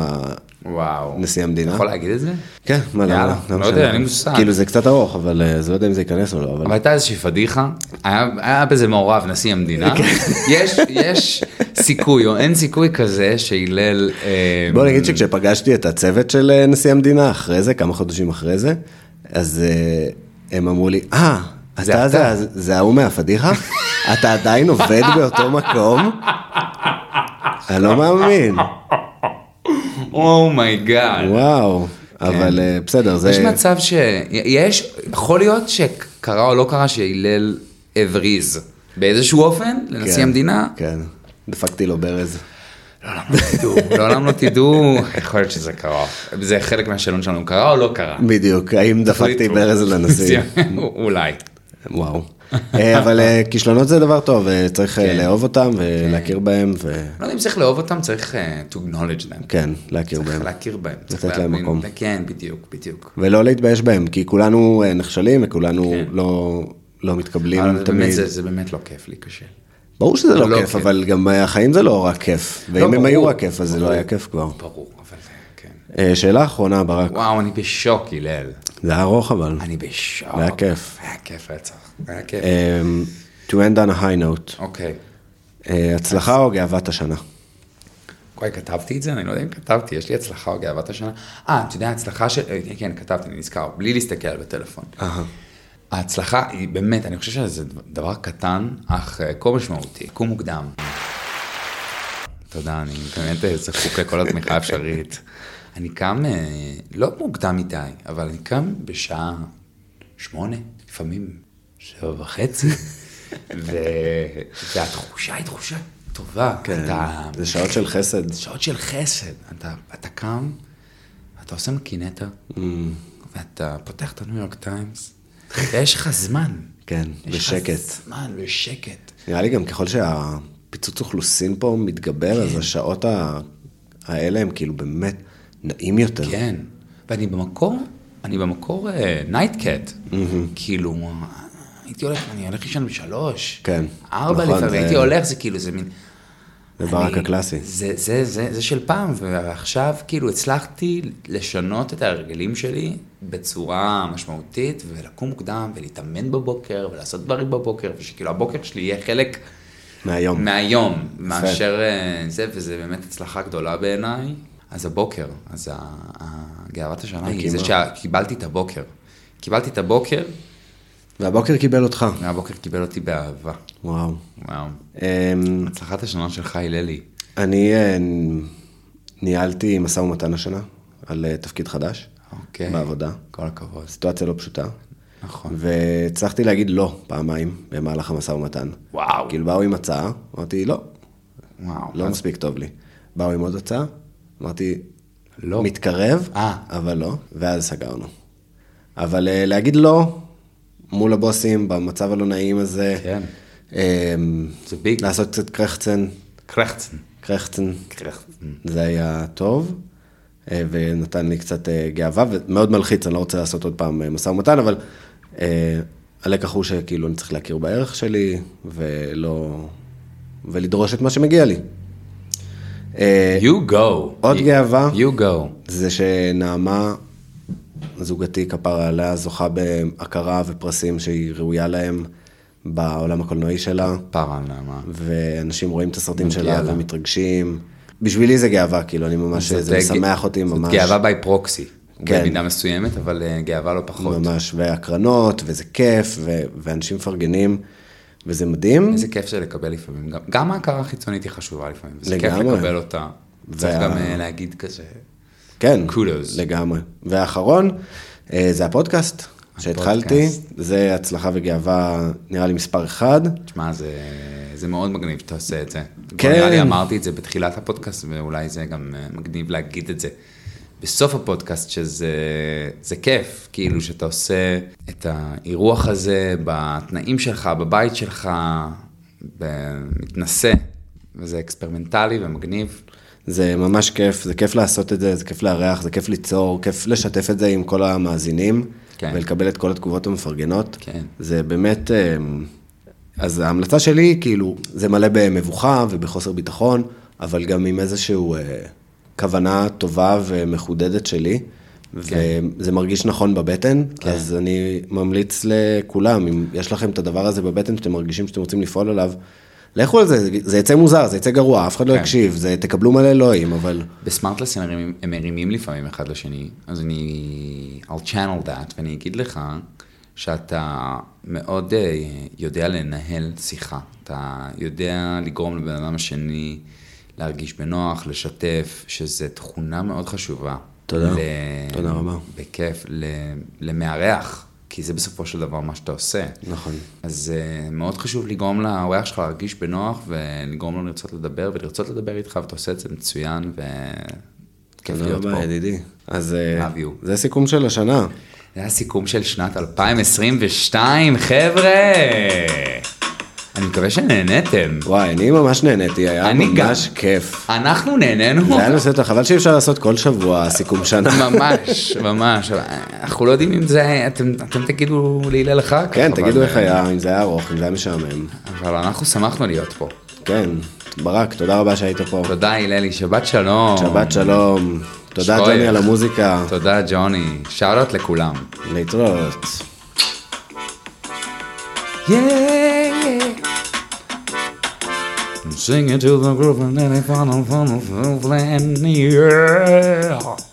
וואו. נשיא המדינה. יכול להגיד את זה? כן, מה לא, נכון. יאללה, לא לא יודע, משנה. אין לי מושג. כאילו זה קצת ארוך, אבל אה, אז לא יודע אם זה ייכנס או לא, אבל... אבל הייתה איזושהי פדיחה, היה, היה בזה מעורב נשיא המדינה, כן. יש, יש סיכוי או אין סיכוי כזה שהלל... אה, בוא נגיד שכשפגשתי את הצוות של אה, נשיא המדינה, אחרי זה, כמה חודשים אחרי זה, אז אה, הם אמרו לי, אה, זה אתה אתה." זה- זה ההוא מהפדיחה? אתה עדיין עובד באותו מקום? אני לא מאמין, אומייגאד. וואו. אבל אה, בסדר, זה... Oh כן. יש מצב ש... יש, יכול להיות שקרה או לא קרה שהלל הבריז באיזשהו אופן לנשיא כן, המדינה. כן, דפקתי לו ברז. לעולם לא תדעו, לעולם לא תדעו, יכול להיות שזה קרה. זה חלק מהשאלון שלנו, קרה או לא קרה? בדיוק, האם דפקתי החליטו. ברז לנשיא? אולי. וואו. אה, אבל אה, כישלונות זה דבר טוב, אה, צריך אה, כן. לאהוב אותם ולהכיר בהם, לא יודע אם צריך לאהוב אותם, צריך אה, to acknowledge them. וכן, להכיר בהם. צריך להכיר בהם. צריך לתת להם להבין. מקום. כן, בדיוק, בדיוק. ולא להתבייש בהם, כי כולנו אה, נכשלים וכולנו לא, לא מתקבלים כן. אבל זה באמת- תמיד. זה זה באמת לא כיף להיכשל. ברור שזה לא לא כיף, כיף. אבל גם אה, החיים זה לא רק כיף. לא, ואם הם ברור. היו רק כיף, אז זה לא ברור. היה כיף כבר. ברור, אבל זה- כן. אה, שאלה אחרונה, ברק. וואו, אני בשוק, הלל. זה היה ארוך אבל. אני בשוק. היה כיף. היה כיף רצח. היה כיף. אמ, To end on a high note, אוקיי. אה, הצלחה או גאוות השנה? וואי, כתבתי את זה? אני לא יודע אם כתבתי, יש לי הצלחה או גאוות השנה. אה, אתה יודע, ההצלחה של... אה, כן, כתבתי, אני נזכר, בלי להסתכל בטלפון. ההצלחה היא באמת, אני חושב שזה דבר קטן, אך אה, כה משמעותי. קום מוקדם. תודה, אני באמת אה, זקוק לכל התמיכה האפשרית. אני קם, אה, לא מוקדם מדי, אבל אני קם בשעה שמונה, לפעמים שבע וחצי, ו... והתחושה היא תחושה טובה. כן, אתה... זה שעות של חסד. שעות של חסד. אתה, אתה קם, אתה עושה מקינטה, Mm. ואתה פותח את הניו יורק טיימס, ויש לך זמן. כן, יש בשקט. לך זמן ושקט. נראה לי גם ככל שהפיצוץ אוכלוסין פה מתגבר, כן. אז השעות ה- האלה הם כאילו באמת נעים יותר. כן. ואני במקור, אני במקור נייטקט. כאילו, הייתי הולך, אני הולך לישון בשלוש. כן, ארבע נכון, לפעמים, זה- הייתי הולך, זה כאילו, זה מין... זה ברק אני- הקלאסי. זה, זה, זה, זה של פעם, ועכשיו כאילו הצלחתי לשנות את ההרגלים שלי בצורה משמעותית, ולקום מוקדם, ולהתאמן בבוקר, ולעשות דברים בבוקר, ושכאילו הבוקר שלי יהיה חלק מהיום. מהיום, מאשר אה, זה, וזה באמת הצלחה גדולה בעיניי. אז הבוקר, אז ה- ה- גאוות השנה היא הקימה. זה שקיבלתי את הבוקר. קיבלתי את הבוקר, והבוקר קיבל אותך. והבוקר קיבל אותי באהבה. וואו. וואו. אמ, הצלחת השנה שלך הללי. אני אה, ניהלתי משא ומתן השנה על אה, תפקיד חדש. אוקיי. בעבודה. כל הכבוד. סיטואציה לא פשוטה. נכון. והצלחתי להגיד לא פעמיים במהלך המשא ומתן. וואו. כאילו באו עם הצעה, אמרתי לא, וואו. לא מספיק טוב לי. באו עם עוד הצעה, אמרתי, לא. מתקרב, אה. אבל לא, ואז סגרנו. אבל אה, להגיד לא, מול הבוסים, במצב הלא נעים הזה, כן. אה, זה ביג. לעשות קצת קרחצן, קרחצן. קרחצן, קרחצן. זה היה טוב, אה, ונתן לי קצת אה, גאווה, ומאוד מלחיץ, אני לא רוצה לעשות עוד פעם אה, משא ומתן, אבל אה, הלקח הוא שכאילו אני צריך להכיר בערך שלי, ולא... ולדרוש את מה שמגיע לי. אה, You go. עוד You- גאווה. You go. זה שנעמה, זוגתי כפרה עליה, זוכה בהכרה ופרסים שהיא ראויה להם בעולם הקולנועי שלה, פרה נעמה. ואנשים רואים את הסרטים מגיע שלה לה. ומתרגשים. בשבילי זה גאווה, כאילו, אני ממש, זה גא- משמח אותי ממש. זאת גאווה ביי פרוקסי. כן. במידה מסוימת, אבל אה, גאווה לא פחות. ממש, והקרנות, וזה כיף, ו- ואנשים מפרגנים, וזה מדהים. איזה כיף זה לקבל לפעמים, גם, גם ההכרה החיצונית היא חשובה לפעמים, וזה כיף לגמרי. לקבל אותה. צריך וה- גם אה, להגיד כזה, כן. Kudos. לגמרי. והאחרון, אה, זה הפודקאסט שהתחלתי, הפודקאסט. זה הצלחה וגאווה, נראה לי מספר אחד. תשמע, זה, זה מאוד מגניב שאתה עושה את זה. כן. כן. נראה לי אמרתי את זה בתחילת הפודקאסט, ואולי זה גם אה, מגניב להגיד את זה. בסוף הפודקאסט, שזה זה כיף, כאילו שאתה עושה את האירוח הזה בתנאים שלך, בבית שלך, ב- מתנסה, וזה אקספרימנטלי ומגניב. זה ממש כיף, זה כיף לעשות את זה, זה כיף לארח, זה כיף ליצור, כיף לשתף את זה עם כל המאזינים, כן. כן. ולקבל את כל התגובות המפרגנות. כן. זה באמת, אמ, אז ההמלצה שלי, כאילו, זה מלא במבוכה ובחוסר ביטחון, אבל גם עם איזושהי כוונה טובה ומחודדת שלי. כן. וזה מרגיש נכון בבטן, כן. אז אני ממליץ לכולם, אם יש לכם את הדבר הזה בבטן שאתם מרגישים שאתם רוצים לפעול עליו, לכו על זה, זה יצא מוזר, זה יצא גרוע, אף אחד לא כן. יקשיב, זה תקבלו מלא אלוהים, אבל בסמארטלס הם מרימים, הם מרימים לפעמים אחד לשני, אז אני... I'll channel that, ואני אגיד לך שאתה מאוד אה, יודע לנהל שיחה. אתה יודע לגרום לבן אדם השני להרגיש בנוח, לשתף, שזו תכונה מאוד חשובה. תודה. תודה רבה. בכיף, ל... למארח, כי זה בסופו של דבר מה שאתה עושה. נכון. אז אה, מאוד חשוב לגרום לאורח שלך להרגיש בנוח ולגרום לו לרצות לדבר ולרצות לדבר איתך ואתה עושה את זה מצוין וכיף תודה להיות פה. רבה ידידי. אז אה, Love you. זה סיכום של השנה. זה היה סיכום של שנת 2022 חבר'ה. אני מקווה שנהנתם. וואי, אני ממש נהניתי, היה אני גם. ממש כיף. אנחנו נהנינו. זה היה נושא, טוב, חבל שאי אפשר לעשות כל שבוע סיכום שנה. ממש, ממש, אבל אנחנו לא יודעים אם זה, אתם, אתם תגידו להלל אחר כך. כן, אבל- אה, תגידו איך היה, אם זה היה ארוך, אם זה היה משעמם. אבל אנחנו שמחנו להיות פה. כן, ברק, תודה רבה שהיית פה. תודה הללי, שבת שלום. שבת שלום. תודה, שכוח. ג'וני, על המוזיקה. תודה ג'וני, שאלות לכולם. להתראות. Yeah, yeah. Sing it to the group and then it funnel, funnel, funnel, and yeah.